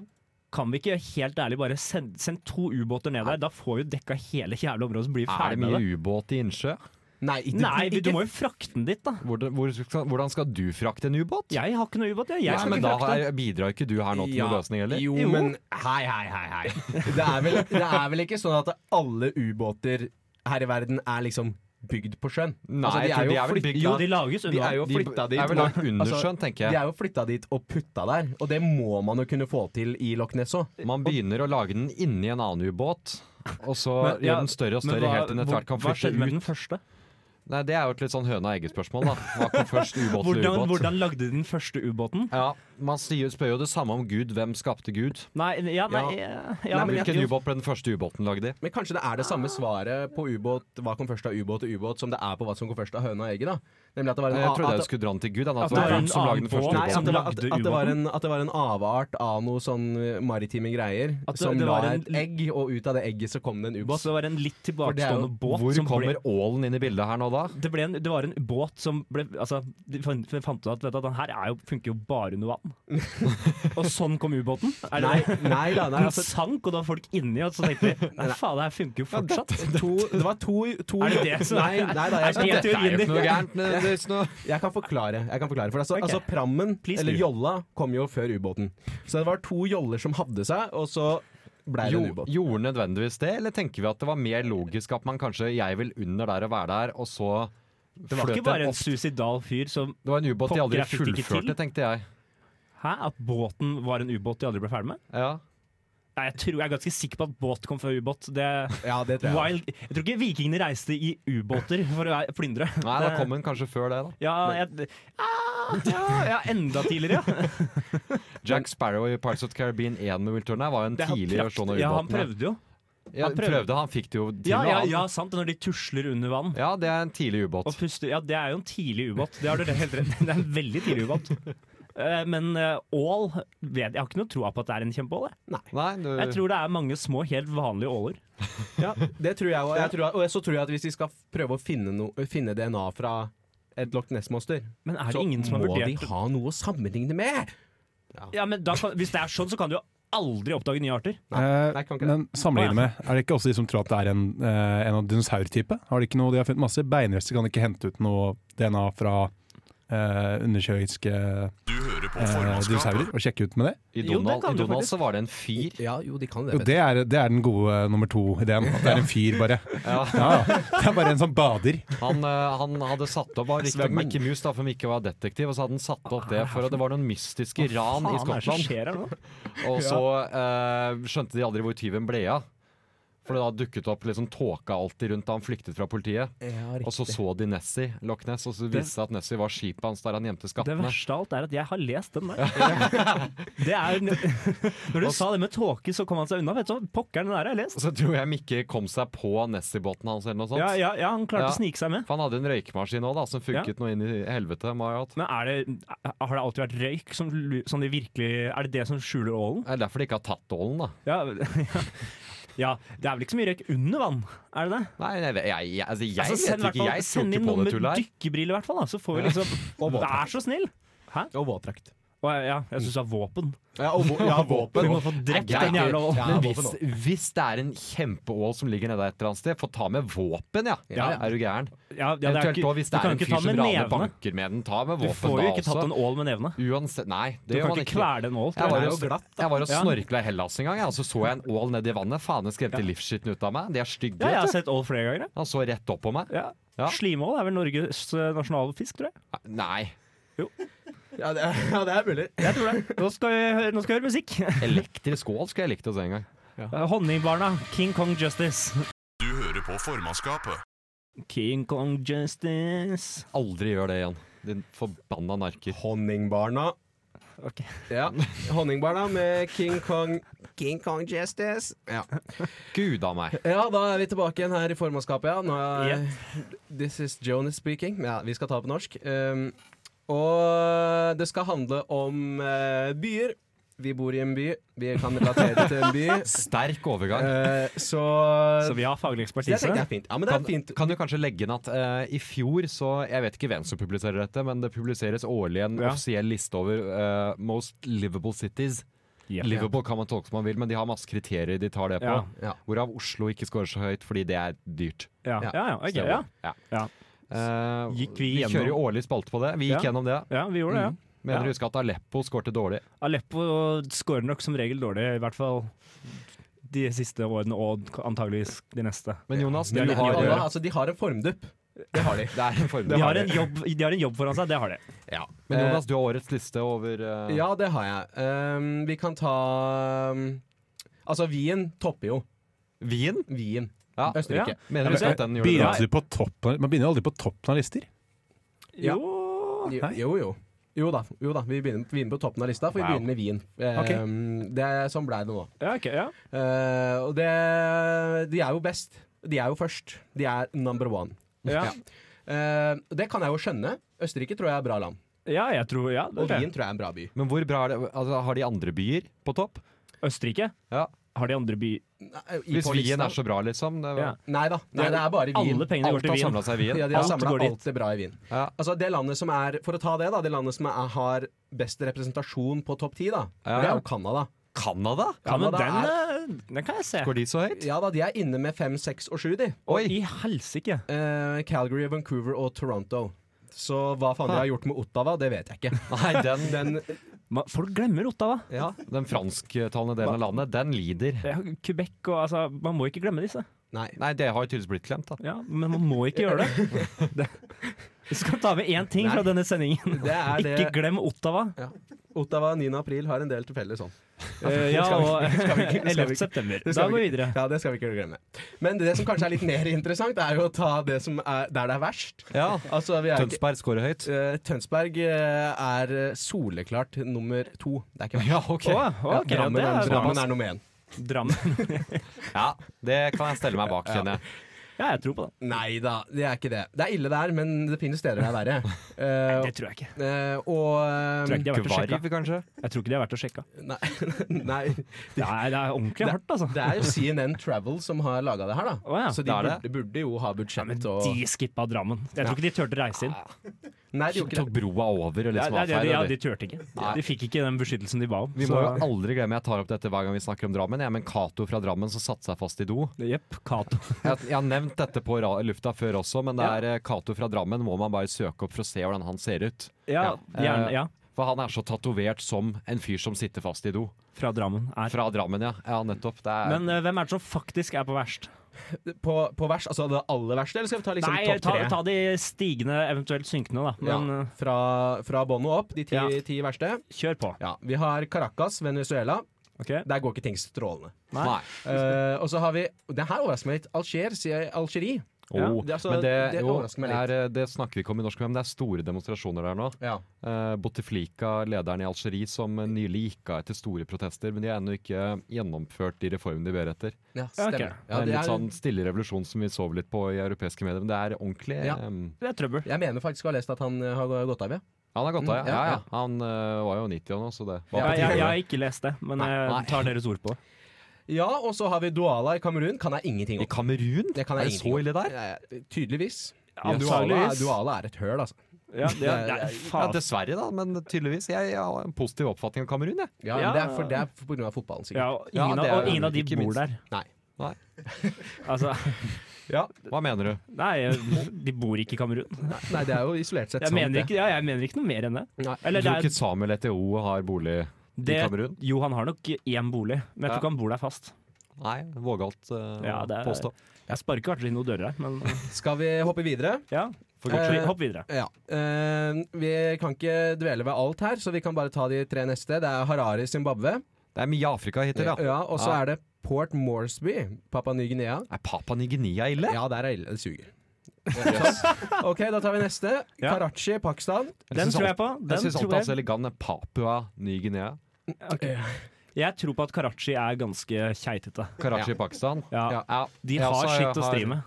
[SPEAKER 4] Kan vi ikke helt ærlig bare sende, sende to ubåter ned der? Da får vi jo dekka hele jævla området, så blir vi
[SPEAKER 5] Er det
[SPEAKER 4] ferdig med
[SPEAKER 5] mye
[SPEAKER 4] det.
[SPEAKER 5] ubåt i innsjø?
[SPEAKER 6] Nei, ikke,
[SPEAKER 4] Nei, vi-
[SPEAKER 6] ikke,
[SPEAKER 4] du må jo frakte den dit, da.
[SPEAKER 5] Hvordan, hvor skal- hvordan skal du frakte en ubåt?
[SPEAKER 4] Jeg har ikke noe ubåt, jeg. jeg
[SPEAKER 5] Ja,
[SPEAKER 4] skal
[SPEAKER 5] men
[SPEAKER 4] ikke
[SPEAKER 5] da
[SPEAKER 4] frakte.
[SPEAKER 5] er- bidrar ikke du her nå til
[SPEAKER 6] Ja,
[SPEAKER 5] noen løsning heller?
[SPEAKER 6] Jo, men hei, hei, hei, hei. Det er vel, det er vel ikke sånn at alle ubåter her i verden er liksom bygd på sjøen?
[SPEAKER 5] Nei,
[SPEAKER 6] Altså,
[SPEAKER 5] jeg tror de er vel
[SPEAKER 6] flytt-
[SPEAKER 5] bygd
[SPEAKER 4] Jo, de lages
[SPEAKER 6] de
[SPEAKER 4] unna.
[SPEAKER 6] er jo flytta dit.
[SPEAKER 5] er vel lagt under
[SPEAKER 6] Altså,
[SPEAKER 5] sjøen, tenker
[SPEAKER 6] De
[SPEAKER 5] jeg.
[SPEAKER 6] er jo flytta dit og putta der, og det må man jo kunne få til i Loch Ness òg.
[SPEAKER 5] Man begynner å lage den inni en annen ubåt, og så
[SPEAKER 4] Men, ja,
[SPEAKER 5] gjør den større og
[SPEAKER 4] Men
[SPEAKER 5] større
[SPEAKER 4] hva-
[SPEAKER 5] helt til den etter
[SPEAKER 4] hvor-
[SPEAKER 5] hvert kan
[SPEAKER 4] Hva
[SPEAKER 5] flytte
[SPEAKER 4] skjedde med
[SPEAKER 5] ut.
[SPEAKER 4] den første?
[SPEAKER 5] Nei, det er jo et litt sånn høna og egget-spørsmål, da. Hva kom først, ubåt eller
[SPEAKER 4] Hvordan,
[SPEAKER 5] ubåt?
[SPEAKER 4] hvordan lagde de den første ubåten?
[SPEAKER 5] Ja, man sier, spør jo det samme om Gud. Hvem skapte Gud?
[SPEAKER 4] Nei, ja, nei, ja,
[SPEAKER 6] Nei, men jeg-
[SPEAKER 5] Hvilken ubåt ble den første ubåten lagd i?
[SPEAKER 6] Men kanskje det er det samme svaret på ubåt hva kom først av ubåt og ubåt, som det er på hva som kom først av høna og egget, da. Nemlig at det var en,
[SPEAKER 5] Jeg trodde jeg
[SPEAKER 6] at,
[SPEAKER 5] skulle dra den til Gud. da,
[SPEAKER 4] At
[SPEAKER 5] At det var
[SPEAKER 4] det er
[SPEAKER 5] Gud som
[SPEAKER 4] en
[SPEAKER 5] lagde den
[SPEAKER 4] annen
[SPEAKER 5] første ubåten.
[SPEAKER 6] nei, at det, var,
[SPEAKER 4] Som
[SPEAKER 6] at,
[SPEAKER 4] lagde
[SPEAKER 6] at, det var en, at det var en avart av noe sånn eh, maritime greier
[SPEAKER 4] At det-
[SPEAKER 6] som
[SPEAKER 4] det
[SPEAKER 6] la
[SPEAKER 4] var en-
[SPEAKER 6] et egg, og ut av det egget så kom det en ubåt.
[SPEAKER 4] Så var det en litt
[SPEAKER 6] For det er jo-
[SPEAKER 4] tilbakestående båt
[SPEAKER 5] Hvor
[SPEAKER 4] som ble
[SPEAKER 5] kommer ålen inn i bildet her nå, da?
[SPEAKER 4] det, ble en, det var en båt som ble altså, De fant, de fant ut at vet du, at den her er jo, funker jo bare under vann. og sånn kom ubåten. Er det
[SPEAKER 6] Nei,
[SPEAKER 4] det?
[SPEAKER 6] nei da. Nei,
[SPEAKER 4] Den
[SPEAKER 6] altså,
[SPEAKER 4] sank, og da var folk inni, og så tenkte de Nei, faen, det her funker jo fortsatt.
[SPEAKER 6] to, det sånn var to, to
[SPEAKER 4] Er det det som
[SPEAKER 6] Nei,
[SPEAKER 4] er-
[SPEAKER 6] nei da.
[SPEAKER 4] er
[SPEAKER 6] Jeg,
[SPEAKER 4] det
[SPEAKER 6] jeg,
[SPEAKER 5] Det er jo
[SPEAKER 4] teorien
[SPEAKER 5] ikke
[SPEAKER 4] din?
[SPEAKER 5] noe gærent. men Det er ikke noe...
[SPEAKER 6] jeg kan forklare. Jeg kan forklare for altså,
[SPEAKER 4] Ok.
[SPEAKER 6] altså, Prammen,
[SPEAKER 4] Please
[SPEAKER 6] eller
[SPEAKER 4] do.
[SPEAKER 6] jolla, kom jo før ubåten. Så det var to joller som hadde seg, og så blei det
[SPEAKER 5] Jo,
[SPEAKER 6] en ubåt.
[SPEAKER 5] gjorde nødvendigvis det, eller tenker vi at det var mer logisk at man kanskje Jeg vil under der og være der, og så
[SPEAKER 4] Det var
[SPEAKER 5] fløt
[SPEAKER 4] ikke bare
[SPEAKER 5] den
[SPEAKER 4] en
[SPEAKER 5] opp.
[SPEAKER 4] suicidal fyr som
[SPEAKER 5] Det var en ubåt de
[SPEAKER 4] Pokker,
[SPEAKER 5] aldri
[SPEAKER 4] jeg fikk det ikke
[SPEAKER 5] fullførte, tenkte jeg.
[SPEAKER 4] Hæ? At båten var en ubåt de aldri ble ferdig med?
[SPEAKER 5] Ja.
[SPEAKER 4] Nei, jeg, tror, jeg er ganske sikker på at båt kom før ubåt. Det,
[SPEAKER 6] Ja, det tror jeg.
[SPEAKER 4] wild. jeg tror ikke vikingene reiste i ubåter for å være- plyndre.
[SPEAKER 5] Nei, da
[SPEAKER 4] Det-
[SPEAKER 5] kom den kanskje før det, da.
[SPEAKER 4] Ja, jeg, ah, ja, ja, enda tidligere, ja.
[SPEAKER 5] Jack Sparrow i Pirates of the Caribbean 1 med Will Turner var jo en
[SPEAKER 4] Det er
[SPEAKER 5] tidlig
[SPEAKER 4] prakt-
[SPEAKER 5] versjon av
[SPEAKER 4] Ja, han
[SPEAKER 5] ubåten.
[SPEAKER 4] prøvde jo.
[SPEAKER 5] Ja,
[SPEAKER 4] han
[SPEAKER 5] han
[SPEAKER 4] prøvde.
[SPEAKER 5] prøvde, han fikk det jo til
[SPEAKER 4] Ja,
[SPEAKER 5] og
[SPEAKER 4] ja,
[SPEAKER 5] annet.
[SPEAKER 4] ja, sant, når de tusler under vann.
[SPEAKER 5] Ja, det er en tidlig
[SPEAKER 4] Og
[SPEAKER 5] ubåt.
[SPEAKER 4] puster, ja, det er jo en tidlig ubåt. Det har du helt rett Det er en veldig tidlig ubåt. Eh, Men eh, ål vet, Jeg har ikke noe tro på at det er en kjempeål. jeg.
[SPEAKER 5] Nei, du,
[SPEAKER 4] Jeg tror det er mange små, helt vanlige åler.
[SPEAKER 6] Ja, det tror jeg òg. Og så tror jeg at hvis vi skal prøve å finne, no, finne DNA fra et Loch Ness-monster,
[SPEAKER 4] Men er det
[SPEAKER 6] så
[SPEAKER 4] ingen som har
[SPEAKER 6] må de
[SPEAKER 4] vurdert
[SPEAKER 6] ha noe å sammenligne med!
[SPEAKER 4] ja, men da kan, Hvis det er sånn, så kan du jo aldri oppdage nye arter.
[SPEAKER 7] Eh,
[SPEAKER 6] nei, kan ikke det.
[SPEAKER 7] men sammenlignet med, er det ikke også de som tror at det er en, eh, en av dinosaurtype? Har de ikke noe, de har funnet masse beinrester, kan de ikke hente ut noe DNA fra eh, undersjøiske eh,
[SPEAKER 1] Du hører på
[SPEAKER 7] dinosaurer
[SPEAKER 1] formannskapet.
[SPEAKER 7] og sjekke ut med det?
[SPEAKER 5] I
[SPEAKER 4] Jo, det
[SPEAKER 5] Donald,
[SPEAKER 4] kan
[SPEAKER 5] i
[SPEAKER 4] du
[SPEAKER 5] Donald
[SPEAKER 4] faktisk.
[SPEAKER 5] så var det en fyr.
[SPEAKER 6] Ja, jo, de kan det.
[SPEAKER 7] Jo,
[SPEAKER 6] vet du.
[SPEAKER 7] det er, det er den gode eh, nummer to-ideen. At det er en fyr, bare. Ja. det er bare en som bader.
[SPEAKER 5] Han, eh, han hadde satt opp var riktignok Mickey Mouse, da, for Mickey var detektiv, og så hadde han satt opp det for at det var noen mystiske ran i
[SPEAKER 4] Faen, hva er det
[SPEAKER 5] Skottland.
[SPEAKER 4] som skjer her nå?
[SPEAKER 5] Og så eh, skjønte de aldri hvor tyven ble av. For det da dukket opp liksom tåka alltid rundt da han flyktet fra politiet. Og så så de Nessie Loch Ness, og så viste det seg at Nessie var skipet hans der han gjemte
[SPEAKER 4] Det
[SPEAKER 5] skattene.
[SPEAKER 4] verste av alt er at jeg har lest den der. Det er, når du sa det med tåke, så kom han seg unna. Vet du hva? Pokkeren den der har jeg lest.
[SPEAKER 5] Og så tror jeg Mikke kom seg på Nessie-båten hans eller noe sånt.
[SPEAKER 4] Ja, ja, ja, han
[SPEAKER 5] Ja.
[SPEAKER 4] klarte å snike seg med.
[SPEAKER 5] For han hadde en røykemaskin òg, som funket
[SPEAKER 4] Ja.
[SPEAKER 5] noe inn i helvete. må jeg ha hatt.
[SPEAKER 4] Men er det, har det alltid vært røyk som, lu- som de virkelig Er det det som skjuler ålen?
[SPEAKER 5] Det er derfor de ikke har tatt ålen, da.
[SPEAKER 4] Ja, ja. ja, det er vel ikke så mye røyk under vann, er det det?
[SPEAKER 5] Nei, jeg, jeg, jeg, altså, jeg
[SPEAKER 4] Altså,
[SPEAKER 5] vet
[SPEAKER 4] send hvertfall-
[SPEAKER 5] ikke. Jeg tror
[SPEAKER 4] send
[SPEAKER 5] ikke
[SPEAKER 4] inn
[SPEAKER 5] på
[SPEAKER 4] noen
[SPEAKER 5] det tullet
[SPEAKER 4] med
[SPEAKER 5] her.
[SPEAKER 4] dykkerbriller, i hvert fall, da, så får vi liksom Vær så snill!
[SPEAKER 9] Og våtdrakt.
[SPEAKER 4] Å, ja, jeg syns det er våpen.
[SPEAKER 9] Ja, og vå- ja, våpen.
[SPEAKER 4] Vi må få drept den jævla ålen.
[SPEAKER 9] Ja,
[SPEAKER 5] Men
[SPEAKER 9] våpen
[SPEAKER 5] hvis,
[SPEAKER 9] også.
[SPEAKER 5] hvis det er en kjempeål som ligger nede et eller annet sted, få ta med våpen, ja.
[SPEAKER 4] Ja.
[SPEAKER 5] Er du gæren?
[SPEAKER 4] Ja, ja, det er
[SPEAKER 5] Eventuelt
[SPEAKER 4] ikke-
[SPEAKER 5] også hvis
[SPEAKER 4] du
[SPEAKER 5] det
[SPEAKER 4] kan
[SPEAKER 5] er en
[SPEAKER 4] ikke
[SPEAKER 5] fyr
[SPEAKER 4] ta
[SPEAKER 5] som
[SPEAKER 4] med
[SPEAKER 5] raner
[SPEAKER 4] nevene.
[SPEAKER 5] banker med den, ta med
[SPEAKER 4] Du
[SPEAKER 5] våpen
[SPEAKER 4] får jo
[SPEAKER 5] da
[SPEAKER 4] ikke tatt en
[SPEAKER 5] også.
[SPEAKER 4] ål med nevene.
[SPEAKER 5] Uansett, nei,
[SPEAKER 4] Du
[SPEAKER 5] det gjør
[SPEAKER 4] kan
[SPEAKER 5] man
[SPEAKER 4] ikke
[SPEAKER 5] ikke.
[SPEAKER 4] kvele en ål.
[SPEAKER 5] Jeg var,
[SPEAKER 9] er
[SPEAKER 5] og,
[SPEAKER 9] jo glatt,
[SPEAKER 5] jeg var og
[SPEAKER 4] Ja.
[SPEAKER 5] snorkla i Hellas en gang, jeg, og så så jeg en ål nedi vannet. Faen, jeg skremte
[SPEAKER 4] Ja.
[SPEAKER 5] livsskitten ut av meg. De er stygge.
[SPEAKER 4] Ja, altså- jeg har
[SPEAKER 5] vet du.
[SPEAKER 4] sett ål flere ganger. jeg.
[SPEAKER 5] Han så rett opp på meg.
[SPEAKER 4] Ja.
[SPEAKER 5] Ja.
[SPEAKER 4] Slimål er vel Norges eh, nasjonalfisk, tror jeg.
[SPEAKER 5] Nei.
[SPEAKER 9] Ja, det er, ja, det er mulig.
[SPEAKER 4] Jeg tror det. Nå skal vi høre, nå skal vi høre musikk.
[SPEAKER 5] Elektrisk ål skulle jeg likt å se en gang.
[SPEAKER 4] Eh, Honningbarna, King Kong Justice.
[SPEAKER 1] Du hører på formannskapet.
[SPEAKER 4] King Kong Justice.
[SPEAKER 5] Aldri gjør det igjen. Din forbanna narker.
[SPEAKER 6] Honningbarna.
[SPEAKER 4] Ok.
[SPEAKER 6] Ja. Honningbarna med King Kong King Kong Justice. Ja.
[SPEAKER 5] Gud a meg.
[SPEAKER 6] ja, da er vi tilbake igjen her i formannskapet, ja. Nå er, This is Jonas speaking. Ja, vi skal ta på norsk. Um, og det skal handle om eh, byer. Vi bor i en by. Vi kan relatere til en by.
[SPEAKER 5] Sterk overgang.
[SPEAKER 6] Eh, så
[SPEAKER 4] Så vi har faglig
[SPEAKER 6] jeg
[SPEAKER 4] ekspertise.
[SPEAKER 6] tenkte det er fint. Ja, men det
[SPEAKER 5] Kan,
[SPEAKER 6] er fint.
[SPEAKER 5] kan du kanskje legge inn at eh, i fjor så Jeg vet ikke hvem som publiserer dette, men det publiseres årlig en
[SPEAKER 4] Ja.
[SPEAKER 5] offisiell liste over eh, most livable cities.
[SPEAKER 4] Ja.
[SPEAKER 5] Livable kan man tolke som man vil, men de har masse kriterier de tar det på.
[SPEAKER 4] Ja.
[SPEAKER 6] Ja.
[SPEAKER 5] Hvorav Oslo ikke scorer så høyt fordi det er dyrt.
[SPEAKER 4] Ja, ja, ja, ok,
[SPEAKER 5] sted.
[SPEAKER 4] ja.
[SPEAKER 5] Ja.
[SPEAKER 4] Ja.
[SPEAKER 5] Eh,
[SPEAKER 4] Gikk vi
[SPEAKER 5] vi
[SPEAKER 4] gjennom-
[SPEAKER 5] kjører jo årlig spalte på det. Vi gikk
[SPEAKER 4] Ja.
[SPEAKER 5] gjennom det.
[SPEAKER 4] ja, vi gjorde det. ja.
[SPEAKER 5] Mener
[SPEAKER 4] Ja.
[SPEAKER 5] du husker at Aleppo skårte dårlig?
[SPEAKER 4] Aleppo scorer nok som regel dårlig, i hvert fall de siste årene, og antageligvis de neste.
[SPEAKER 5] Men Jonas,
[SPEAKER 4] Ja,
[SPEAKER 5] du
[SPEAKER 4] det er
[SPEAKER 5] har
[SPEAKER 4] ikke
[SPEAKER 6] Alle,
[SPEAKER 4] alle.
[SPEAKER 5] det
[SPEAKER 6] altså, de har en formdupp. Det har de.
[SPEAKER 5] er en form.
[SPEAKER 4] De har, en jobb, de har en jobb foran seg, det har de. Eh,
[SPEAKER 5] Men Jonas, du har årets liste over eh,
[SPEAKER 6] Ja, det har jeg. Um, vi kan ta um, Altså, Wien topper jo.
[SPEAKER 5] Wien.
[SPEAKER 6] Wien.
[SPEAKER 5] Ja.
[SPEAKER 6] Østerrike.
[SPEAKER 5] Mener du
[SPEAKER 4] Ja, men-
[SPEAKER 5] at den gjorde det
[SPEAKER 7] Begynner
[SPEAKER 5] bra?
[SPEAKER 7] alltid på toppen, man begynner aldri på toppen av lister.
[SPEAKER 6] Ja.
[SPEAKER 4] Jo
[SPEAKER 6] Jo, jo. jo. Jo da, jo da, vi begynner, vi begynner på toppen av lista, for vi
[SPEAKER 4] Wow.
[SPEAKER 6] begynner med Wien.
[SPEAKER 7] Ok.
[SPEAKER 6] Um, det er Sånn blei det nå.
[SPEAKER 4] Ja, ok, ja.
[SPEAKER 6] Eh, og det De er jo best. De er jo først. De er number one.
[SPEAKER 4] Ja.
[SPEAKER 6] Eh, det kan jeg jo skjønne. Østerrike tror jeg er bra land.
[SPEAKER 4] ja, jeg tror ja, det
[SPEAKER 6] Og
[SPEAKER 4] tror jeg.
[SPEAKER 6] Wien tror jeg er en bra by.
[SPEAKER 5] Men hvor bra er det? Altså, har de andre byer på topp?
[SPEAKER 4] Østerrike?
[SPEAKER 5] Ja.
[SPEAKER 4] Har de andre by...
[SPEAKER 6] Nei, i-
[SPEAKER 5] Hvis
[SPEAKER 6] på
[SPEAKER 5] Wien
[SPEAKER 6] lista-
[SPEAKER 5] er så bra, liksom. Det,
[SPEAKER 4] Ja.
[SPEAKER 6] Nei da. Nei, det er bare Wien.
[SPEAKER 4] Alle pengene går
[SPEAKER 5] Alt
[SPEAKER 4] til
[SPEAKER 5] har
[SPEAKER 4] Wien.
[SPEAKER 5] samla seg i Wien.
[SPEAKER 6] Ja, de har
[SPEAKER 4] Alt
[SPEAKER 6] samla
[SPEAKER 4] går dit.
[SPEAKER 6] alt det bra i Wien.
[SPEAKER 5] Ja.
[SPEAKER 6] Altså det landet som er, For å ta det, da. Det landet som er, har best representasjon på topp ti, da.
[SPEAKER 5] Ja.
[SPEAKER 6] Det er jo Canada.
[SPEAKER 5] Canada?
[SPEAKER 4] Ja, men
[SPEAKER 6] Canada
[SPEAKER 4] den,
[SPEAKER 6] er-
[SPEAKER 4] eh, den kan jeg se.
[SPEAKER 5] Går de så høyt?
[SPEAKER 6] Ja da, de er inne med fem, seks og sju, de.
[SPEAKER 5] Oi!
[SPEAKER 4] I helsike.
[SPEAKER 6] Eh, Calgary, Vancouver og Toronto. Så hva faen de har gjort med Ottawa, det vet jeg ikke.
[SPEAKER 5] Nei, den,
[SPEAKER 6] Den,
[SPEAKER 4] Ma- Folk glemmer Ottawa.
[SPEAKER 5] ja, den fransktalende delen av landet, den lider.
[SPEAKER 4] Ja, Quebec og altså Man må ikke glemme disse.
[SPEAKER 6] nei.
[SPEAKER 5] Nei, det har jo tydeligvis blitt klemt, da.
[SPEAKER 4] Ja, men man må ikke gjøre det. det. Du skal ta med én ting fra
[SPEAKER 6] Nei.
[SPEAKER 4] denne sendingen.
[SPEAKER 6] Det er det.
[SPEAKER 4] Ikke glem Ottawa.
[SPEAKER 6] Ottawa 9. april har en del til felles sånn.
[SPEAKER 4] Eh, ja,
[SPEAKER 6] skal vi-
[SPEAKER 4] og
[SPEAKER 6] skal vi ikke- det skal vi
[SPEAKER 4] 11.
[SPEAKER 6] ikke-
[SPEAKER 4] september.
[SPEAKER 6] det
[SPEAKER 4] Da går
[SPEAKER 6] skal
[SPEAKER 4] vi
[SPEAKER 6] ikke-
[SPEAKER 4] videre.
[SPEAKER 6] Ja, det skal vi ikke glemme. Men det som kanskje er litt mer interessant, er jo å ta det som er der det er verst.
[SPEAKER 5] Ja.
[SPEAKER 6] Altså, vi er ikke,
[SPEAKER 5] Tønsberg scorer høyt.
[SPEAKER 6] Eh, Tønsberg eh, er eh, soleklart nummer to. Det er ikke verst.
[SPEAKER 5] Ja, ok.
[SPEAKER 4] Å, ok, ja,
[SPEAKER 6] Drammen,
[SPEAKER 4] det
[SPEAKER 6] er,
[SPEAKER 4] er
[SPEAKER 6] Drammen er nummer én.
[SPEAKER 4] Drammen.
[SPEAKER 5] Ja, det kan jeg stelle meg bak, kjenner jeg.
[SPEAKER 4] Ja, jeg tror på det.
[SPEAKER 6] Nei da, det er ikke det. Det er ille der, men det finnes steder det er verre. Eh,
[SPEAKER 4] Det tror jeg ikke.
[SPEAKER 6] eh, og
[SPEAKER 4] Tror jeg ikke de har vært og sjekka.
[SPEAKER 5] Kvarv, kanskje?
[SPEAKER 4] Jeg tror ikke de har vært og sjekka.
[SPEAKER 6] Nei, nei
[SPEAKER 4] Det er, det er ordentlig hardt, altså.
[SPEAKER 6] det er jo CNN Travel som har laga det her, da.
[SPEAKER 4] Å, ja.
[SPEAKER 6] Så de
[SPEAKER 5] Det er det.
[SPEAKER 6] burde, burde jo ha budsjett
[SPEAKER 4] Men
[SPEAKER 6] og
[SPEAKER 4] de skippa Drammen. Jeg tror ikke de turte å reise inn.
[SPEAKER 6] Nei, de gjorde ikke
[SPEAKER 5] Tok
[SPEAKER 6] det.
[SPEAKER 5] broa over og
[SPEAKER 4] Ja,
[SPEAKER 5] liksom
[SPEAKER 4] det
[SPEAKER 5] var
[SPEAKER 4] er det, de-
[SPEAKER 5] feil.
[SPEAKER 4] ja,
[SPEAKER 5] eller?
[SPEAKER 4] de turte ikke. De fikk ikke den beskyttelsen de ba om.
[SPEAKER 5] Vi må
[SPEAKER 4] så-
[SPEAKER 5] jo aldri glemme, jeg tar opp dette hver gang vi snakker om Drammen, jeg, men Cato fra Drammen som satte seg fast i do.
[SPEAKER 4] Jepp. Cato.
[SPEAKER 5] Jeg, jeg har nevnt dette på ra- lufta før også, men det
[SPEAKER 4] Ja.
[SPEAKER 5] er eh, Cato fra Drammen må man bare søke opp for å se hvordan han ser ut.
[SPEAKER 4] Ja, gjerne. Ja.
[SPEAKER 5] For han er så tatovert som en fyr som sitter fast i do.
[SPEAKER 4] Fra Drammen. Er.
[SPEAKER 5] Fra Drammen, ja. Ja, nettopp. Det er
[SPEAKER 4] Men eh, hvem er det som faktisk er på verst?
[SPEAKER 6] På, på vers, altså det aller verste, eller skal vi ta liksom
[SPEAKER 4] Nei,
[SPEAKER 6] topp
[SPEAKER 4] ta,
[SPEAKER 6] tre?
[SPEAKER 4] ta de stigende, eventuelt synkende, da. Men
[SPEAKER 6] ja,
[SPEAKER 4] eh,
[SPEAKER 6] fra, fra bånn og opp, de ti,
[SPEAKER 4] Ja.
[SPEAKER 6] ti verste.
[SPEAKER 4] kjør på.
[SPEAKER 6] Ja, Vi har Caracas, Venezuela.
[SPEAKER 4] Ok?
[SPEAKER 6] Der går ikke ting strålende.
[SPEAKER 4] Nei.
[SPEAKER 6] Eh, og så har vi Det her overrasker meg litt. Alger, sier jeg Algerie.
[SPEAKER 5] Oh,
[SPEAKER 4] Ja,
[SPEAKER 6] det er altså-
[SPEAKER 5] men det,
[SPEAKER 6] det
[SPEAKER 5] jo,
[SPEAKER 6] overrasker meg
[SPEAKER 5] er, eh, det snakker vi ikke om i norsk, men det er store demonstrasjoner der nå.
[SPEAKER 6] Ja.
[SPEAKER 5] Eh, Bouteflika, lederen i Algerie, som eh, nylig gikk av etter store protester, men de har ennå ikke gjennomført de reformene de ber etter.
[SPEAKER 6] ja
[SPEAKER 4] Ja,
[SPEAKER 6] stemmer.
[SPEAKER 4] ok.
[SPEAKER 5] det
[SPEAKER 6] Ja,
[SPEAKER 5] er en
[SPEAKER 6] det
[SPEAKER 5] litt
[SPEAKER 6] er,
[SPEAKER 5] sånn stille revolusjon som vi sover litt på i europeiske medier, men det er ordentlig eh,
[SPEAKER 6] Ja.
[SPEAKER 5] em,
[SPEAKER 4] Det er trøbbel.
[SPEAKER 6] jeg mener faktisk å ha lest at han eh, har gått av, ja.
[SPEAKER 5] Han har gått av, ja.
[SPEAKER 6] Mm, ja,
[SPEAKER 5] ja, ja.
[SPEAKER 6] ja.
[SPEAKER 5] Han eh, var jo 90 år nå, så det var
[SPEAKER 4] Ja,
[SPEAKER 5] på
[SPEAKER 4] jeg, jeg
[SPEAKER 5] tide.
[SPEAKER 4] har ikke lest det, men
[SPEAKER 5] Nei, nei.
[SPEAKER 4] jeg tar deres ord på det.
[SPEAKER 6] Ja, og så har vi Douala i Kamerun. Kan jeg ingenting
[SPEAKER 5] I
[SPEAKER 6] om.
[SPEAKER 5] Kamerun?
[SPEAKER 6] Det kan
[SPEAKER 5] er
[SPEAKER 6] jeg
[SPEAKER 5] det så
[SPEAKER 6] ingenting
[SPEAKER 5] ille der?
[SPEAKER 6] Nei, Tydeligvis.
[SPEAKER 4] Ja,
[SPEAKER 6] Douala,
[SPEAKER 4] antageligvis.
[SPEAKER 6] Douala er et høl, altså.
[SPEAKER 4] Ja, det er, det
[SPEAKER 6] Ja,
[SPEAKER 4] er,
[SPEAKER 5] Ja,
[SPEAKER 4] faen.
[SPEAKER 5] dessverre, da, men tydeligvis. Jeg, jeg har en positiv oppfatning av Kamerun, jeg.
[SPEAKER 6] Ja, men
[SPEAKER 4] Ja.
[SPEAKER 6] Det er for- det er på grunn av
[SPEAKER 4] Ja,
[SPEAKER 6] fotballen, sikkert.
[SPEAKER 4] og
[SPEAKER 5] Ja,
[SPEAKER 4] ingen,
[SPEAKER 5] det
[SPEAKER 4] av-
[SPEAKER 5] er-
[SPEAKER 4] og ingen av de
[SPEAKER 5] ikke
[SPEAKER 4] bor
[SPEAKER 5] minst.
[SPEAKER 4] der.
[SPEAKER 6] Nei.
[SPEAKER 5] Nei.
[SPEAKER 4] Altså,
[SPEAKER 5] Hva mener du?
[SPEAKER 4] nei, eh, de bor ikke i Kamerun.
[SPEAKER 6] Nei, det er jo isolert sett
[SPEAKER 4] Jeg
[SPEAKER 6] sant,
[SPEAKER 4] mener
[SPEAKER 6] det.
[SPEAKER 4] ikke, ja, jeg mener ikke noe mer enn det.
[SPEAKER 6] Nei.
[SPEAKER 4] Eller det
[SPEAKER 5] Tror
[SPEAKER 4] er,
[SPEAKER 5] ikke Samuel ETO har bolig i
[SPEAKER 4] det,
[SPEAKER 5] Kamerun?
[SPEAKER 4] jo, han har nok én bolig, men jeg tror
[SPEAKER 5] Ja.
[SPEAKER 4] ikke han bor der fast.
[SPEAKER 5] Nei, vågalt eh,
[SPEAKER 4] Ja, det er-
[SPEAKER 5] påstå.
[SPEAKER 4] Jeg sparker kanskje inn noen dører her, men
[SPEAKER 6] Skal vi hoppe videre?
[SPEAKER 4] ja. Hopp,
[SPEAKER 6] Eh,
[SPEAKER 4] hopp videre.
[SPEAKER 6] Ja. Eh, vi kan ikke dvele ved alt her, så vi kan bare ta de tre neste. Det er Harare, Zimbabwe.
[SPEAKER 5] Det er mye Afrika hittil, ja.
[SPEAKER 6] Ja, og så
[SPEAKER 5] Ja.
[SPEAKER 6] er det Port Moresby, Papua Ny-Guinea.
[SPEAKER 5] Er Papa Ny-Guinea ille?
[SPEAKER 6] Ja, der er ille. Det suger. OK, da tar vi neste.
[SPEAKER 4] Ja.
[SPEAKER 6] Karachi, Pakistan.
[SPEAKER 4] Den
[SPEAKER 5] synes
[SPEAKER 4] tror
[SPEAKER 5] alt-
[SPEAKER 4] jeg på. Den
[SPEAKER 5] jeg syns alt
[SPEAKER 4] tror
[SPEAKER 5] er så
[SPEAKER 4] jeg.
[SPEAKER 5] elegant er Papua Ny-Guinea.
[SPEAKER 4] jeg tror på at Karachi er ganske keitete.
[SPEAKER 5] Karachi i Pakistan.
[SPEAKER 4] Ja.
[SPEAKER 6] Ja.
[SPEAKER 4] De
[SPEAKER 5] Jeg
[SPEAKER 4] har
[SPEAKER 5] også
[SPEAKER 4] skitt å
[SPEAKER 5] har-
[SPEAKER 4] stri med.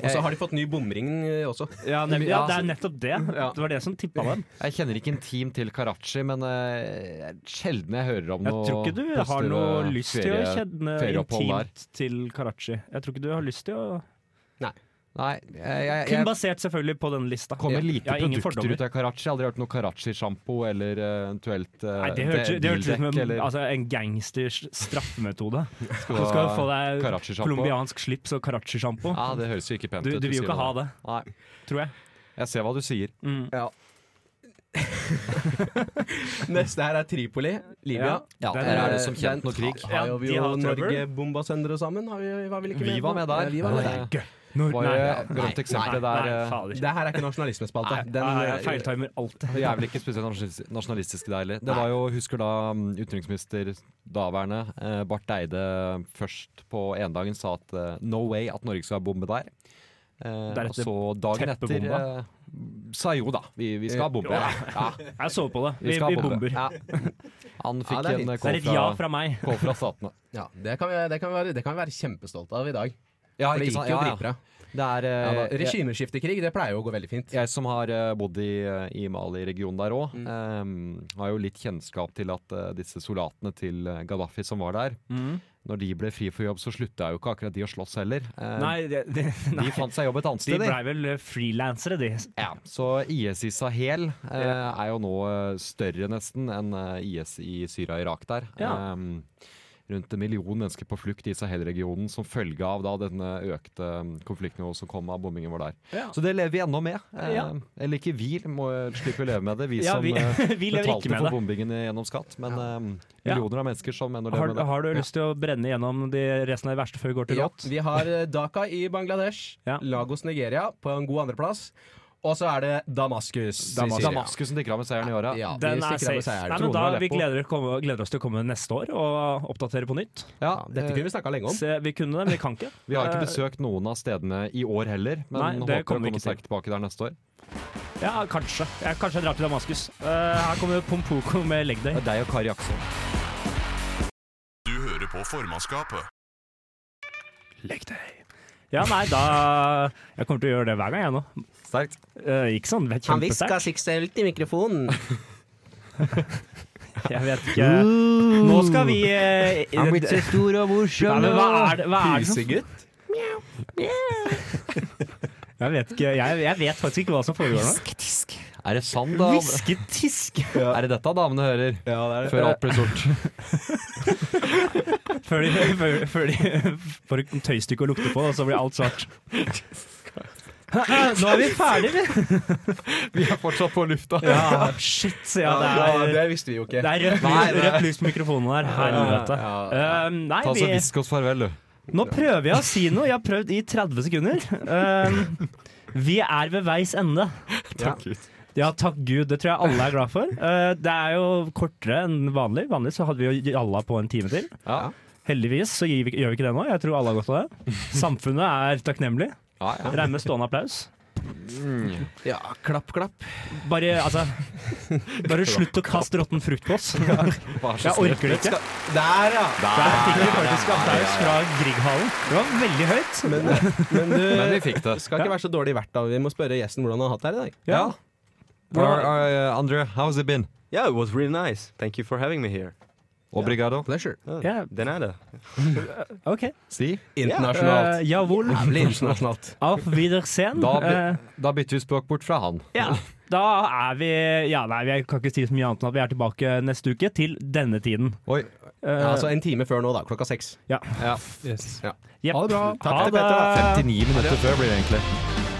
[SPEAKER 6] Og så har de fått ny bomring eh, også.
[SPEAKER 4] Ja, nem-
[SPEAKER 5] Ja,
[SPEAKER 4] ja, det er
[SPEAKER 5] altså-
[SPEAKER 4] nettopp det.
[SPEAKER 6] Ja.
[SPEAKER 4] Det var det som tippa dem.
[SPEAKER 5] Jeg kjenner ikke intimt til Karachi, men eh, sjelden jeg hører om
[SPEAKER 4] Jeg
[SPEAKER 5] noe
[SPEAKER 4] tror ikke du har noe
[SPEAKER 5] positive
[SPEAKER 4] lyst til å
[SPEAKER 5] ferie-
[SPEAKER 4] kjenne
[SPEAKER 5] ferieopphold
[SPEAKER 4] intimt til Karachi. Jeg tror ikke du har lyst til å
[SPEAKER 5] Nei, jeg, jeg,
[SPEAKER 4] Kun
[SPEAKER 5] jeg
[SPEAKER 4] basert selvfølgelig på den lista.
[SPEAKER 5] kommer
[SPEAKER 4] Jeg
[SPEAKER 5] lite
[SPEAKER 4] har ingen
[SPEAKER 5] produkter
[SPEAKER 4] fordommer.
[SPEAKER 5] ut av Karachi. Jeg har Aldri hørt noe Karachi-sjampo eller eh, eventuelt eh,
[SPEAKER 4] Nei, det hørtes det hørtes ut som
[SPEAKER 5] bildekk
[SPEAKER 4] en,
[SPEAKER 5] eller
[SPEAKER 4] altså, en gangsters straffemetode.
[SPEAKER 5] skal
[SPEAKER 4] Du skal jo få
[SPEAKER 5] Karachi
[SPEAKER 4] deg
[SPEAKER 5] shampoo.
[SPEAKER 4] colombiansk slips og karachi-sjampo.
[SPEAKER 5] Ja, det høres jo ikke pent
[SPEAKER 4] Du,
[SPEAKER 5] ut.
[SPEAKER 4] du vil jo
[SPEAKER 5] sier
[SPEAKER 4] ikke ha det,
[SPEAKER 5] Nei,
[SPEAKER 4] tror jeg.
[SPEAKER 5] jeg ser hva du sier.
[SPEAKER 4] Mm.
[SPEAKER 6] Neste her er Tripoli, Libya. Eh,
[SPEAKER 5] Ja,
[SPEAKER 4] Den
[SPEAKER 5] der
[SPEAKER 4] er-
[SPEAKER 5] er det som kjent noe krig.
[SPEAKER 6] Har jo vi
[SPEAKER 4] de
[SPEAKER 6] jo
[SPEAKER 4] har trøbbel.
[SPEAKER 6] Norge bomba sønder og sammen. Har vi, var vi, ikke
[SPEAKER 5] Vi
[SPEAKER 6] med
[SPEAKER 5] var
[SPEAKER 6] på-
[SPEAKER 5] med der.
[SPEAKER 6] Ja, vi var med
[SPEAKER 5] Ja,
[SPEAKER 6] der.
[SPEAKER 5] det Var jo et berømt eksempel
[SPEAKER 4] nei,
[SPEAKER 5] der eh,
[SPEAKER 4] fader.
[SPEAKER 6] Det her er ikke nasjonalismespalte.
[SPEAKER 4] Nei,
[SPEAKER 6] Den,
[SPEAKER 4] nei,
[SPEAKER 6] eh,
[SPEAKER 4] jeg feiltimer alt.
[SPEAKER 5] Og Jeg er vel ikke spesielt nasjonalis- nasjonalistisk der heller. Det var jo, husker da mm, utenriksminister daværende eh, Barth Eide først på endagen sa at eh, no way at Norge skal ha bombe der. Eh, og
[SPEAKER 4] Deretter
[SPEAKER 5] så dagen etter
[SPEAKER 4] teppebomba.
[SPEAKER 5] eh, sa jo da, vi, vi skal ha bombe. Ja, ja,
[SPEAKER 4] Jeg sover på det.
[SPEAKER 5] vi
[SPEAKER 4] Vi,
[SPEAKER 5] skal ha
[SPEAKER 4] vi bomber.
[SPEAKER 5] Ja. Han
[SPEAKER 6] Ja,
[SPEAKER 5] fikk
[SPEAKER 6] det er
[SPEAKER 5] en
[SPEAKER 6] fint.
[SPEAKER 5] eh,
[SPEAKER 4] Det
[SPEAKER 5] kål
[SPEAKER 4] er et ja
[SPEAKER 5] fra,
[SPEAKER 4] fra meg.
[SPEAKER 5] kål fra statene.
[SPEAKER 6] ja, det, kan vi, det, kan vi være, det kan vi være kjempestolte av i dag.
[SPEAKER 5] Ja,
[SPEAKER 6] For det
[SPEAKER 5] ikke
[SPEAKER 6] gikk
[SPEAKER 5] sant?
[SPEAKER 6] jo
[SPEAKER 5] Ja, ja.
[SPEAKER 6] dritbra.
[SPEAKER 5] Det er
[SPEAKER 6] Ja,
[SPEAKER 5] eh,
[SPEAKER 6] da, Regimeskiftekrig, det pleier jo å gå veldig fint.
[SPEAKER 5] Jeg som har eh, bodd i, eh, i Mali-regionen der
[SPEAKER 4] Mm.
[SPEAKER 5] òg, har jo litt kjennskap til at eh, disse soldatene til eh, Gaddafi som var der,
[SPEAKER 4] Mm.
[SPEAKER 5] når de ble fri for jobb, så slutta jo ikke akkurat de å slåss heller. Eh,
[SPEAKER 4] Nei, det, det, nei.
[SPEAKER 5] De fant seg jobb et annet
[SPEAKER 4] De
[SPEAKER 5] sted, de.
[SPEAKER 4] blei vel frilansere, de.
[SPEAKER 5] Ja, så IS i Sahel eh, er jo nå eh, større nesten enn eh, IS i Syria og Irak der.
[SPEAKER 4] Ja.
[SPEAKER 5] Eh, rundt en million mennesker på flukt i Sahel-regionen som følge av da denne økte mm, konfliktnivået som kom av bombingen vår der.
[SPEAKER 4] Ja.
[SPEAKER 5] Så det lever vi ennå med. Eh,
[SPEAKER 4] Ja.
[SPEAKER 5] Eller ikke vi, må slipper å leve med det. Vi
[SPEAKER 4] Ja,
[SPEAKER 5] som
[SPEAKER 4] vi,
[SPEAKER 5] eh,
[SPEAKER 4] vi lever
[SPEAKER 5] betalte
[SPEAKER 4] ikke med
[SPEAKER 5] for
[SPEAKER 4] det.
[SPEAKER 5] bombingen gjennom skatt. Men eh,
[SPEAKER 4] Ja.
[SPEAKER 5] millioner av mennesker som ennå
[SPEAKER 4] Har,
[SPEAKER 5] lever med det.
[SPEAKER 4] har du lyst til å brenne gjennom de resten av de verste før vi går til
[SPEAKER 6] Ja,
[SPEAKER 4] låt?
[SPEAKER 6] vi har eh, Dhaka i Bangladesh,
[SPEAKER 4] Ja.
[SPEAKER 6] Lagos Nigeria på en god andreplass, og så er det Damaskus.
[SPEAKER 5] Damaskus,
[SPEAKER 6] i Syria.
[SPEAKER 5] Damaskus som stikker av med seieren i åra.
[SPEAKER 6] Ja, vi
[SPEAKER 4] Den er
[SPEAKER 6] stikker av
[SPEAKER 4] safe.
[SPEAKER 6] med seier.
[SPEAKER 4] Nei, men
[SPEAKER 5] Tronen
[SPEAKER 4] da,
[SPEAKER 5] er
[SPEAKER 4] vi
[SPEAKER 5] på.
[SPEAKER 4] gleder, komme- gleder oss til å komme neste år og oppdatere på nytt.
[SPEAKER 5] Ja, eh,
[SPEAKER 6] Dette kunne vi snakka lenge om.
[SPEAKER 4] Se, vi kunne det, men vi kan ikke.
[SPEAKER 5] Vi har ikke
[SPEAKER 4] Eh,
[SPEAKER 5] besøkt noen av stedene i år heller, men
[SPEAKER 4] Nei,
[SPEAKER 5] håper
[SPEAKER 4] det
[SPEAKER 5] å
[SPEAKER 4] kommer
[SPEAKER 5] komme
[SPEAKER 4] vi ikke til.
[SPEAKER 5] sterkt tilbake der neste år.
[SPEAKER 4] Ja, kanskje. Jeg, kanskje jeg drar til Damaskus. Eh, her kommer Pompoko med Leg
[SPEAKER 5] Det
[SPEAKER 4] Day.
[SPEAKER 5] er deg og Kari Akson.
[SPEAKER 1] Du hører på formannskapet.
[SPEAKER 4] Ja, nei, da Jeg kommer til å gjøre det hver gang, jeg nå.
[SPEAKER 5] Sterkt.
[SPEAKER 4] Eh, ikke sånn vet- kjempesterkt.
[SPEAKER 6] seksuelt i mikrofonen.
[SPEAKER 4] Jeg vet ikke. Nå skal vi eh,
[SPEAKER 6] Han blitt så stor og
[SPEAKER 4] Nei,
[SPEAKER 6] morsom.
[SPEAKER 4] men hva er det, hva er det som
[SPEAKER 6] Husegutt?
[SPEAKER 4] Jeg vet ikke. Jeg, jeg vet faktisk ikke hva som foregår nå.
[SPEAKER 5] Er det sann, da?
[SPEAKER 4] Hvisketisk!
[SPEAKER 5] Er det dette damene hører?
[SPEAKER 6] Ja, det er det.
[SPEAKER 5] Før alt blir sort.
[SPEAKER 4] Før de, før, før de får et tøystykke å lukte på, og så blir alt svart. Nå er vi ferdige, vi!
[SPEAKER 5] Vi er fortsatt på lufta.
[SPEAKER 4] Ja, shit. Ja,
[SPEAKER 6] Ja,
[SPEAKER 4] det er,
[SPEAKER 6] det visste vi jo ikke.
[SPEAKER 4] det er rødt,
[SPEAKER 5] Nei,
[SPEAKER 4] lys,
[SPEAKER 5] det-
[SPEAKER 4] rødt lys på mikrofonen her. Helvete.
[SPEAKER 6] Ja,
[SPEAKER 4] Eh, nei,
[SPEAKER 5] Ta så
[SPEAKER 4] vi,
[SPEAKER 5] Hvisk oss farvel, du.
[SPEAKER 4] nå prøver jeg å si noe. Jeg har prøvd i 30 sekunder. Eh, vi er ved veis ende.
[SPEAKER 5] Takk, Gud.
[SPEAKER 4] Ja, takk gud. Det tror jeg alle er glad for. Eh, det er jo kortere enn vanlig. Vanlig så hadde vi jo jalla på en time til.
[SPEAKER 5] Ja.
[SPEAKER 4] Heldigvis så gir vi, gjør vi ikke det nå. Jeg tror alle har godt av det. Samfunnet er takknemlig.
[SPEAKER 5] Ja, ja.
[SPEAKER 4] Regner med stående applaus.
[SPEAKER 6] Mm. Ja, klapp, klapp.
[SPEAKER 4] Bare, altså, bare slutt å kaste råtten frukt på oss. Jeg
[SPEAKER 5] Vær så snill.
[SPEAKER 4] orker det ikke.
[SPEAKER 6] Der, ja!
[SPEAKER 4] Der fikk vi faktisk applaus fra Grieghallen. Det var veldig høyt.
[SPEAKER 6] Men, men du
[SPEAKER 5] Men vi fikk det.
[SPEAKER 6] skal ikke være så dårlig verdt, da. Vi må spørre gjesten hvordan han har hatt det her i dag.
[SPEAKER 5] Ja. Or, or, uh, Andrew, how's it been?
[SPEAKER 8] Yeah, it was really nice. Thank you for having me here.
[SPEAKER 5] Obrigado.
[SPEAKER 6] Pleasure.
[SPEAKER 8] Oh,
[SPEAKER 4] Yeah.
[SPEAKER 8] De nada.
[SPEAKER 4] OK.
[SPEAKER 5] Si.
[SPEAKER 6] Internasjonalt.
[SPEAKER 4] Eh, jawohl.
[SPEAKER 6] Jævlig internasjonalt.
[SPEAKER 4] Auf Wiedersehen.
[SPEAKER 5] Da,
[SPEAKER 4] Eh,
[SPEAKER 5] by, da bytter vi språk bort fra han.
[SPEAKER 4] Ja, da er vi Ja, nei, jeg kan ikke si så mye annet enn at vi er tilbake neste uke til denne tiden.
[SPEAKER 5] Oi.
[SPEAKER 4] Eh,
[SPEAKER 6] Ja, altså en time før nå, da. Klokka seks.
[SPEAKER 4] ja.
[SPEAKER 7] Yes.
[SPEAKER 4] Jepp.
[SPEAKER 7] Ha det bra.
[SPEAKER 4] Ha
[SPEAKER 6] til Petter, da.
[SPEAKER 4] det.
[SPEAKER 5] 59 minutter før blir det egentlig.